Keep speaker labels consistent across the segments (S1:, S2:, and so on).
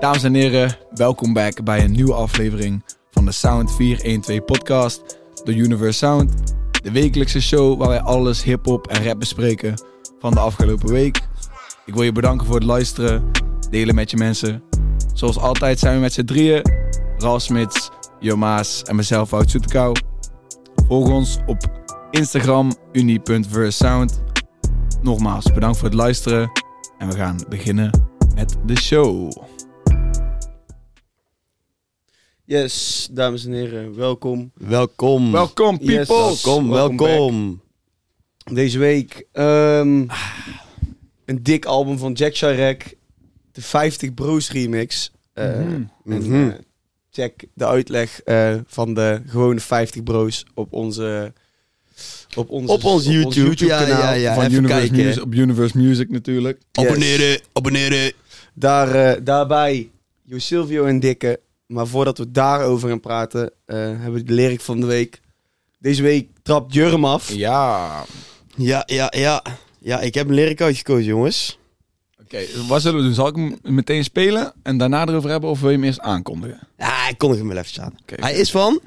S1: Dames en heren, welkom back bij een nieuwe aflevering van de Sound 412 podcast door Universe Sound. De wekelijkse show waar wij alles hip-hop en rap bespreken van de afgelopen week. Ik wil je bedanken voor het luisteren, delen met je mensen. Zoals altijd zijn we met z'n drieën, Ralf Smits, Jomaas en mezelf Wout Zoetekou. Volg ons op Instagram uni.versound. Nogmaals, bedankt voor het luisteren en we gaan beginnen met de show.
S2: Yes, dames en heren, welkom.
S3: Welkom.
S1: Mm. Welkom,
S2: Yes.
S1: peoples.
S3: Welkom,
S2: Welkom
S3: welkom.
S2: Deze week ehm, een dik album van Jack Chirac, de 50 Bros remix. Eh, en,
S3: Mhm.
S2: eh, check de uitleg eh, van de gewone 50 Bros op onze op ons,
S3: Op ons YouTube.
S2: YouTube-kanaal.
S3: Ja, ja, ja.
S1: Van
S3: even
S1: Universe
S3: kijken.
S1: Music, op Universe Music natuurlijk.
S2: Yes.
S3: Abonneren, abonneren.
S2: Daar, eh, daarbij Jo Silvio en Dikke. Maar voordat we daarover gaan praten, eh, hebben we de lyric van de week. Deze week trapt Jurm af.
S1: Ja.
S3: Ja, ja, ja. Ja, ik heb een lyric uitgekozen, jongens.
S1: Oké, wat zullen we doen? Zal ik hem meteen spelen en daarna erover hebben of wil je hem eerst aankondigen?
S3: Ah, ik kondig hem wel even staan.
S1: Oké.
S3: Hij is van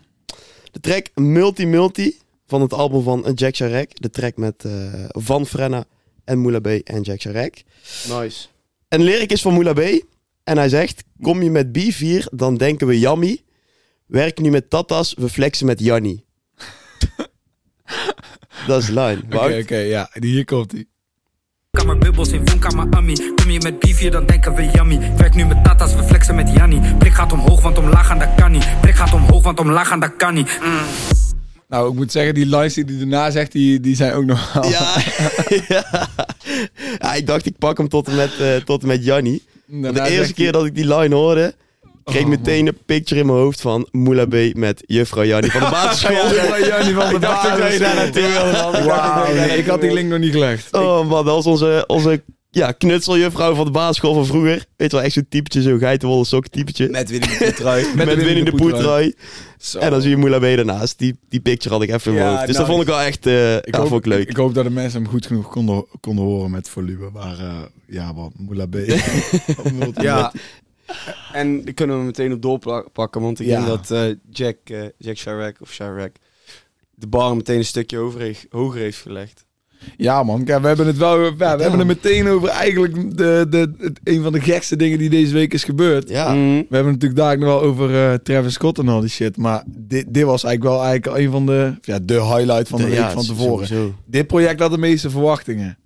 S3: de track Multi Multi van het album van Jack Chirac. De track met eh, Van Frenna en Moula B en Jack Chirac.
S2: Nice.
S3: En de lyric is van Moula B. En hij zegt, kom je met B4, dan denken we Yummy. Werk nu met Tatas, we flexen met Janni. Dat is de line.
S1: Oké,
S3: Wout?
S1: oké, ja. Die- Hier komt hij.
S4: Kamer bubbels in woonkamer Ami. Kom je met bier, dan denken we yummy. Werk nu met tata's, we flexen met Janni. Blik gaat omhoog, want omlaag gaan, dat kan niet. Blik gaat omhoog, want omlaag gaan, dat kan niet. Mm.
S1: Nou, ik moet zeggen, die lines die hij daarna zegt, die, die zijn ook nog wel-
S3: Ja. ja. Ja, ik dacht ik pak hem tot en met, eh, tot en met Janni.
S1: Daarna
S3: Want De
S1: zegt
S3: eerste
S1: hij-
S3: keer dat ik die line hoorde, kreeg ik
S1: Oh,
S3: meteen een picture in mijn hoofd van Moula B met juffrouw Janni van de basisschool.
S1: Ja, Jannie van de
S3: Ik dacht ook dat je daar naartoe wilde, man. Ik dacht ook dat
S1: Wauw,
S3: je daar
S1: nee, ik had die link nog niet gelegd.
S3: Oh man, dat was onze, onze ja, knutseljuffrouw van de basisschool van vroeger. Weet je wel, echt zo'n typetje, zo'n geitenwolle sok typetje. Met,
S2: Met Willy Poetrui.
S1: Met Winnie
S3: Winnie de
S1: de Poetrui.
S3: Poetrui.
S1: Zo. nou,
S3: En dan zie je Moula B daarnaast. Die, die picture had ik even in mijn
S2: Ja,
S3: hoofd. Dus dat
S2: nice.
S3: vond ik wel echt eh
S1: Ik,
S3: ja,
S1: hoop,
S3: vond ik leuk.
S1: Ik, hoop dat de mensen hem goed genoeg konden, konden horen met volume. Maar eh, ja, man, Moula B.
S2: Ja. En daar kunnen we meteen op doorpakken, want ik
S1: Ja.
S2: denk dat eh, Jack, eh Jack Chirac of Chirac de bar meteen een stukje over heeft- hoger heeft gelegd.
S1: ja, man. Kijk, we hebben het wel. ja, we hebben het meteen over eigenlijk de, de, het- een van de gekste dingen die deze week is gebeurd.
S3: Ja.
S2: Mhm.
S1: We hebben het natuurlijk daar ook nog wel over eh, Travis Scott en al die shit. Maar dit, dit was eigenlijk wel eigenlijk een van de. Ja, de highlight van de, week
S3: ja,
S1: van tevoren.
S3: sowieso.
S1: Dit project had de meeste verwachtingen.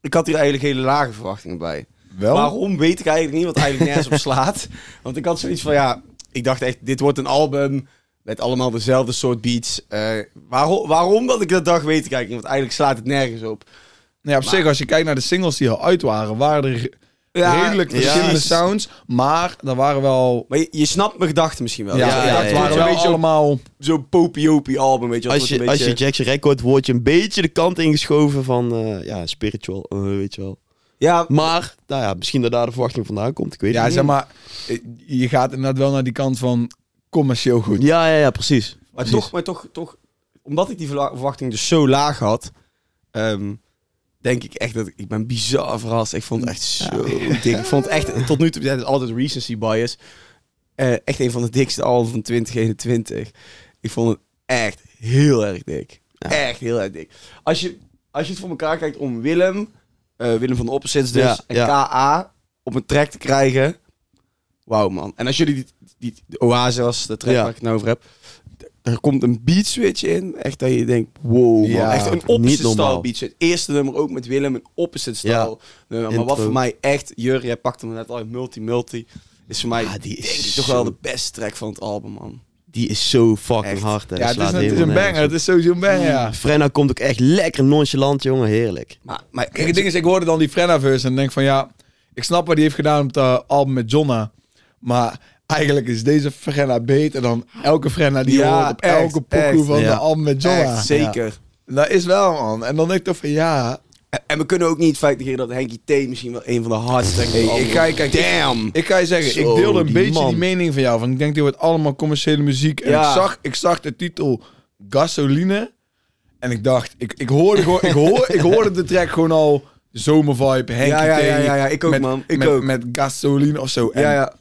S2: Ik had hier eigenlijk hele lage verwachtingen bij.
S1: Wel?
S2: Waarom weet ik eigenlijk niet, wat eigenlijk nergens op slaat. Want ik had zoiets van, ja, ik dacht echt, dit wordt een album met allemaal dezelfde soort beats. Eh, waarom, waarom dat ik dat dacht, weet ik eigenlijk niet, want eigenlijk slaat het nergens op.
S1: Nou ja, op
S2: Maar-
S1: zich, als je kijkt naar de singles die al uit waren, waren er
S2: Ja,
S1: redelijk
S3: ja.
S1: verschillende sounds. Maar er waren wel.
S2: Maar je, je snapt mijn gedachten misschien wel.
S1: Ja,
S3: ja,
S1: ja,
S3: ja,
S1: het
S3: ja.
S1: waren
S2: Zo'n
S1: wel
S2: beetje op-
S1: allemaal.
S2: zo'n popiopie album, weet je. dat wordt
S3: Als je,
S2: een
S3: als
S2: beetje...
S3: je Jack's record word je een beetje de kant ingeschoven van eh, ja, spiritual, eh, weet je wel.
S2: Ja,
S3: Maar, nou ja, misschien dat daar de verwachting vandaan komt. Ik weet
S1: Ja,
S3: het
S1: zeg
S3: niet.
S1: maar. eh, Je gaat inderdaad wel naar die kant van commercieel goed.
S3: Ja, ja, ja, precies.
S2: maar,
S1: Precies.
S2: toch, maar toch, toch, omdat ik die verla- verwachting dus zo laag had, ehm, denk ik echt dat ik, ik ben bizar verrast. Ik vond het echt zo dik. Ik vond het echt, tot nu toe, dat is altijd recency bias, eh, echt een van de dikste albums van 2021. Ik vond het echt heel erg dik. Echt heel erg dik. Als je, als je het voor elkaar kijkt om Willem, eh, Willem van de Opposites dus,
S3: Ja,
S2: en
S3: ja.
S2: KA op een track te krijgen. Wauw man. En als jullie die, die, de Oase was, de track
S3: Ja.
S2: waar ik het nou over heb. Er komt een beat switch in. Echt dat je denkt, wow man.
S3: Ja,
S2: echt een
S3: niet
S2: opposite style
S3: normaal.
S2: beat switch. Eerste nummer ook met Willem, een opposite style.
S3: Ja.
S2: nummer. Maar
S3: Intro.
S2: wat voor mij echt, Jur, jij pakte hem net al, multi-multi. Is voor mij
S3: Ah, die is
S2: denk ik, toch
S3: zo-
S2: wel de beste track van het album man.
S3: Die is zo fucking
S2: Echt.
S3: hard. Hè.
S1: Ja, het is,
S3: Slaat
S1: een- het is
S3: helemaal
S1: een
S3: nergens
S1: banger. Het
S3: op.
S1: is sowieso een banger. Ja.
S3: Frenna komt ook echt lekker nonchalant, jongen. Heerlijk.
S2: Maar, maar
S1: Kijk, het ding is, ik hoorde dan die Frennaverse en denk van ja, ik snap wat hij heeft gedaan op het album met Jonna. Maar eigenlijk is deze Frenna beter dan elke Frenna die je
S2: Ja,
S1: hoort op
S2: echt,
S1: elke pokoe
S2: echt.
S1: van de
S3: Ja.
S1: album met Jonna.
S2: echt, zeker.
S1: Dat is wel, man. En dan denk ik toch van ja.
S2: En- En we kunnen ook niet het feit negeren dat Henky T misschien wel een van de hardste tracks van
S1: Hey,
S2: de
S1: ik
S2: album
S1: ga-
S2: is.
S1: kijk,
S2: Damn!
S1: Ik ga je zeggen,
S3: Zo,
S1: ik deelde een
S3: die
S1: beetje
S3: man.
S1: die mening van jou. Van ik denk, dit wordt allemaal commerciële muziek. En
S2: Ja.
S1: ik, zag, ik zag de titel Gasoline. En ik dacht, ik, ik, hoorde, gewoon, ik, hoor, ik hoorde de track gewoon al zomervibe, Henkie
S2: Ja, ja, ja,
S1: T,
S2: ja, ja, ik ook,
S1: met,
S2: man. Ik
S1: met,
S2: ook.
S1: Met gasoline of zo. En
S2: ja, ja.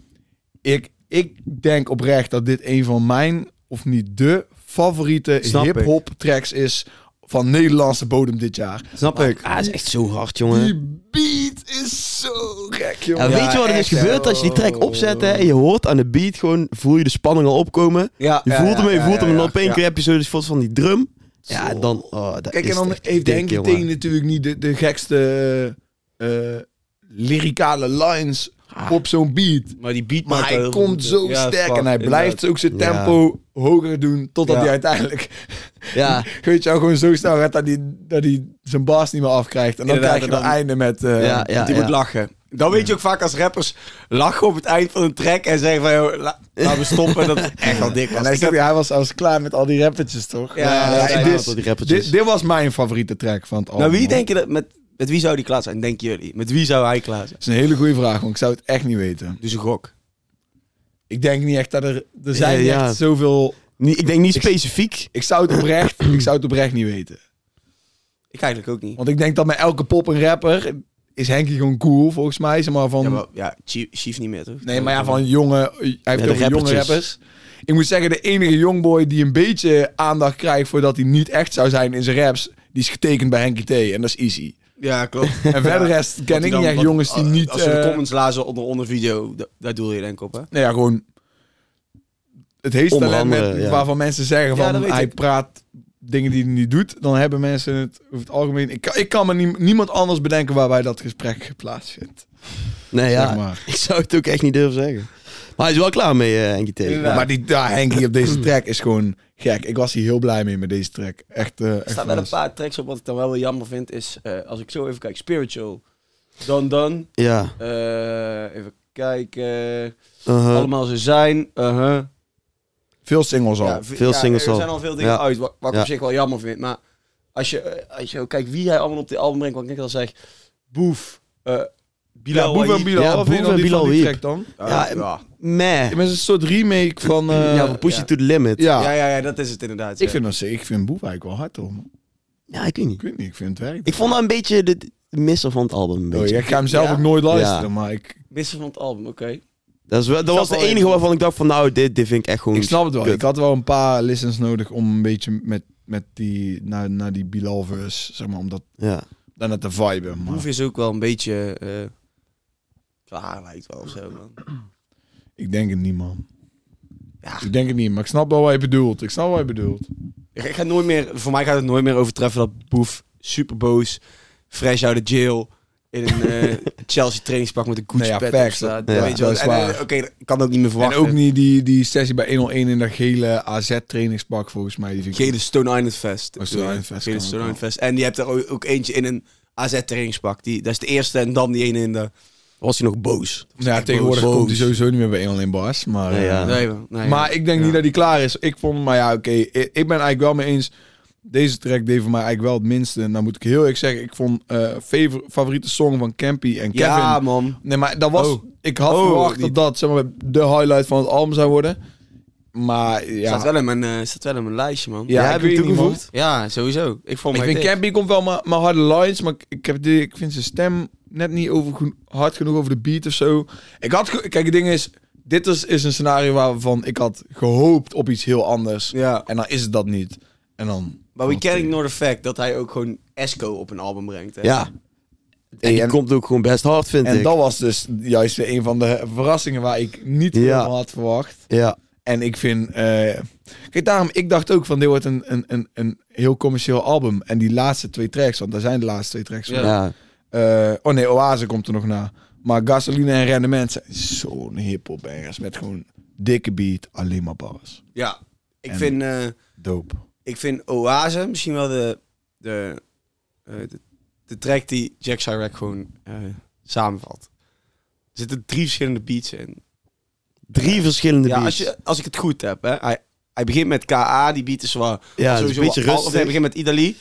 S1: ik, ik denk oprecht dat dit een van mijn, of niet de, favoriete
S2: Snap ik.
S1: hip-hop tracks is van Nederlandse bodem dit jaar.
S2: Snap ik.
S3: Ah, is echt zo hard,
S2: Hm.
S3: jongen.
S1: Die beat is zo gek, jongen.
S3: En weet je wat er dus
S1: echt,
S3: gebeurt
S1: hè.
S3: als je die track opzet hè, en je hoort aan de beat gewoon, voel je de spanning al opkomen.
S1: Ja,
S3: Je
S1: Ah, ja,
S3: voelt
S1: ja,
S3: hem, je
S1: ja,
S3: voelt
S1: ja,
S3: hem en
S1: ja.
S3: dan op één keer heb je zo dus van die drum. Ja,
S1: Zo.
S3: en dan, oh, dat
S1: Kijk,
S3: is
S1: en dan
S3: echt
S1: heeft
S3: dik,
S1: Henk
S3: jongen.
S1: meteen natuurlijk niet de, de gekste eh, eh, lyricale lines
S3: Ah.
S1: op zo'n beat.
S2: Maar die beat
S1: Maar hij komt zo sterk en hij blijft ook zijn
S3: Ja.
S1: tempo hoger doen. Totdat
S2: Ja.
S1: hij uiteindelijk,
S3: Ja,
S1: weet je wel, gewoon zo snel gaat dat hij, dat hij zijn baas niet meer afkrijgt. En dan
S2: Inderdaad,
S1: krijg je het
S2: en
S1: einde
S2: dan-
S1: met... eh,
S3: ja, ja.
S2: Want die
S3: ja.
S2: moet lachen. Dan weet je ook vaak als rappers lachen op het eind van een track en zeggen van, joh, la- laten we stoppen. Dat is echt al dik
S1: En
S2: was.
S1: hij,
S2: Ik
S1: zegt,
S2: heb-
S1: hij was al klaar met al die rappertjes, toch?
S2: Ja, ja, ja,
S1: dit,
S2: ja,
S1: is-
S3: dat die rappertjes.
S1: dit, dit was mijn favoriete track van het album.
S2: Dus, nou, wie
S1: Oh, man.
S2: denk je dat, met, met wie zou die klaar zijn, denken jullie? Met wie zou hij klaar zijn?
S1: Dat is een hele goede vraag, want ik zou het echt niet weten.
S2: Dus een gok.
S1: Ik denk niet echt dat er... Er zijn niet
S3: ja.
S1: echt zoveel...
S3: Niet- ik denk niet specifiek.
S1: Ik zou het oprecht, ik zou het oprecht niet weten.
S2: Ik eigenlijk ook niet.
S1: Want ik denk dat met elke pop en rapper is Henkie gewoon cool, volgens mij. Zeg maar van...
S2: Ja, maar, ja Chief, Chief niet meer, toch?
S1: Nee, maar ja, van jonge... Hij heeft
S3: de
S1: ook jonge
S3: rappertjes.
S1: rappers. Ik moet zeggen, de enige jongboy die een beetje aandacht krijgt... voordat hij niet echt zou zijn in zijn raps... die is getekend bij Henkie T. En dat is easy.
S2: Ja, klopt.
S1: En verder rest ken ik niet echt jongens die niet...
S2: Als we de
S1: eh,
S2: comments lazen onder, onder video, da- daar doel je denk ik op, hè?
S1: Nou ja, gewoon... Het heetste
S3: Onder
S1: talent
S3: andere,
S1: met-
S3: ja.
S1: waarvan mensen zeggen
S2: Ja,
S1: van...
S2: dat weet
S1: hij
S2: ik.
S1: praat dingen die hij niet doet. Dan hebben mensen het over het algemeen... Ik, kan- ik kan me nie- niemand anders bedenken waarbij dat gesprek geplaatst vindt.
S3: Nee, ja.
S1: Zeg maar.
S3: Ik zou het ook echt niet durven zeggen. Maar hij is wel klaar mee, eh Henkie T.
S2: Inderdaad. Ja.
S1: Maar die ja, Henkie op deze track is gewoon gek. Ik was hier heel blij mee met deze track. Echt, eh echt
S2: Er staan wel een
S1: verrast.
S2: paar tracks op. Wat ik dan wel weer jammer vind is, eh, als ik zo even kijk, Spiritual, Done Done,
S3: Ja.
S2: eh, even kijken,
S3: Uh-huh.
S2: Allemaal Ze Zijn, uh-huh.
S1: Veel singles al.
S2: Ja, v-
S3: veel
S2: ja,
S3: singles
S2: Er
S3: al.
S2: zijn al veel dingen
S3: Ja.
S2: uit, wat, wat ik
S3: Ja.
S2: op zich wel jammer vind. Maar als je, eh, als je ook kijkt wie hij allemaal op die album brengt, wat ik net al zeg, Boef, eh
S1: Ja,
S2: Bilal,
S1: Boef en
S2: Wahid.
S1: Bilal.
S3: Ja,
S1: Wat vind je
S3: Boef en
S1: dan die van
S3: Bilal
S1: die
S3: Weep.
S1: track dan?
S2: Ja,
S3: Ja,
S2: ja.
S3: Meh.
S1: Het is een soort remake van... eh,
S3: ja, we push
S2: ja.
S3: it to the limit.
S1: ja.
S2: Ja, ja, ja, dat is het inderdaad.
S1: Ik
S2: ja.
S1: vind, dat, ze- ik vind Boef eigenlijk wel hard, hoor. man.
S3: Ja, ik weet
S1: Ik
S3: niet.
S1: weet niet, ik vind het werk.
S3: Ik vond dat een beetje de de misser van het album. Een
S1: Oh,
S3: beetje.
S1: ja, ik ga hem zelf
S2: Ja?
S1: ook nooit luisteren, maar ik,
S2: Missen van het album, oké.
S3: Dat, is wel, dat
S2: snap
S3: was de
S2: wel
S3: enige
S2: even.
S3: waarvan ik dacht van, nou, dit, dit vind ik echt gewoon...
S1: ik snap het wel.
S3: kut.
S1: Ik had wel een paar listens nodig om een beetje met, met die, naar, naar die Bilal verse, zeg maar, om dat
S3: Ja.
S1: daarna te viben. Maar
S2: Boef is ook wel een beetje eh, klaar lijkt wel of zo, man.
S1: ik denk het niet, man.
S2: Ja.
S1: Ik denk het niet, maar ik snap wel wat je bedoelt. Ik snap wat je bedoelt.
S2: Ik, ik ga nooit meer, voor mij gaat het nooit meer overtreffen dat Boef super boos, fresh out of jail, in een eh, Chelsea trainingspak met een Gucci
S1: Nee, ja,
S2: pet op
S1: facts.
S2: staat.
S3: Ja,
S2: Weet je
S1: dat
S2: wel.
S1: is
S2: En, eh,
S1: waar.
S2: Oké, dat kan ook niet meer verwachten.
S1: En ook niet die, die sessie bij 101 in dat gele AZ-trainingspak, volgens mij. Die vind ik
S2: Gele Stone Island Fest.
S1: Oh, Stone Island Fest
S2: Gele
S1: kan
S2: Stone
S1: ook
S2: Island Fest. En die hebt er ook ook eentje in een AZ trainingspak. Die, dat is de eerste en dan die ene in de...
S3: Was hij nog boos?
S1: Nou ja, tegenwoordig
S3: boos.
S1: komt hij sowieso niet meer bij 101 Bars, maar...
S3: Nee,
S1: eh,
S3: ja.
S2: Nee, man. nee,
S1: Maar ik denk
S2: Ja.
S1: niet dat hij klaar is. Ik vond, maar ja, oké. ik, ik ben eigenlijk wel mee eens. Deze track deed voor mij eigenlijk wel het minste. En dan moet ik heel eerlijk zeggen, ik vond eh favor- favoriete song van Campy en Kevin.
S2: Ja, man.
S1: Nee, maar dat was.
S2: Oh.
S1: Ik had
S2: Oh,
S1: verwacht
S2: die-
S1: dat dat zeg maar, de highlight van het album zou worden. Maar ja.
S2: Staat, wel in mijn, eh, staat wel in mijn lijstje, man.
S1: Ja, ik
S3: heb je
S1: weet
S3: hem
S1: niet, man.
S3: toegevoegd?
S2: Ja, sowieso. Ik vond
S1: Ik
S2: mij
S1: vind
S2: dik.
S1: Campy komt wel maar, maar harde lines, maar ik- ik, heb die, ik vind zijn stem net niet over, geno- hard genoeg over de beat of zo. Ik had, ge- kijk, het ding is, dit is, is een scenario waarvan ik had gehoopt op iets heel anders.
S2: Ja.
S1: En dan is het dat niet. En dan.
S2: Maar we
S1: dan
S2: kennen not the fact dat hij ook gewoon Esco op een album brengt. Hè?
S3: Ja. En
S1: Hey,
S3: die
S1: en-
S3: komt ook gewoon best hard, vind
S1: En
S3: ik.
S1: dat was dus juist weer een van de verrassingen waar ik niet
S3: Ja.
S1: helemaal had verwacht.
S3: Ja.
S1: En ik vind. eh, kijk, daarom, ik dacht ook van dit wordt een, een, een, een heel commercieel album. En die laatste twee tracks, want daar zijn de laatste twee tracks.
S2: Ja.
S1: van.
S3: Ja.
S1: Eh, oh nee, Oase komt er nog na. Maar Gasoline en Rendement zijn zo'n hip-hop bangers met gewoon dikke beat, alleen maar bars.
S2: Ja. Ik
S1: En-
S2: vind... eh,
S1: Dope.
S2: ik vind Oase misschien wel de, de, eh, de, de track die Jack Chirac gewoon eh, samenvat. Er zitten drie verschillende beats in.
S3: Drie verschillende
S2: Ja, als,
S3: beats.
S2: je, als ik het goed heb, hè. Hij, hij begint met KA, die beat is wel...
S3: ja, het is
S2: sowieso
S3: een beetje
S2: wel- Of hij
S3: rustig.
S2: begint met Idali.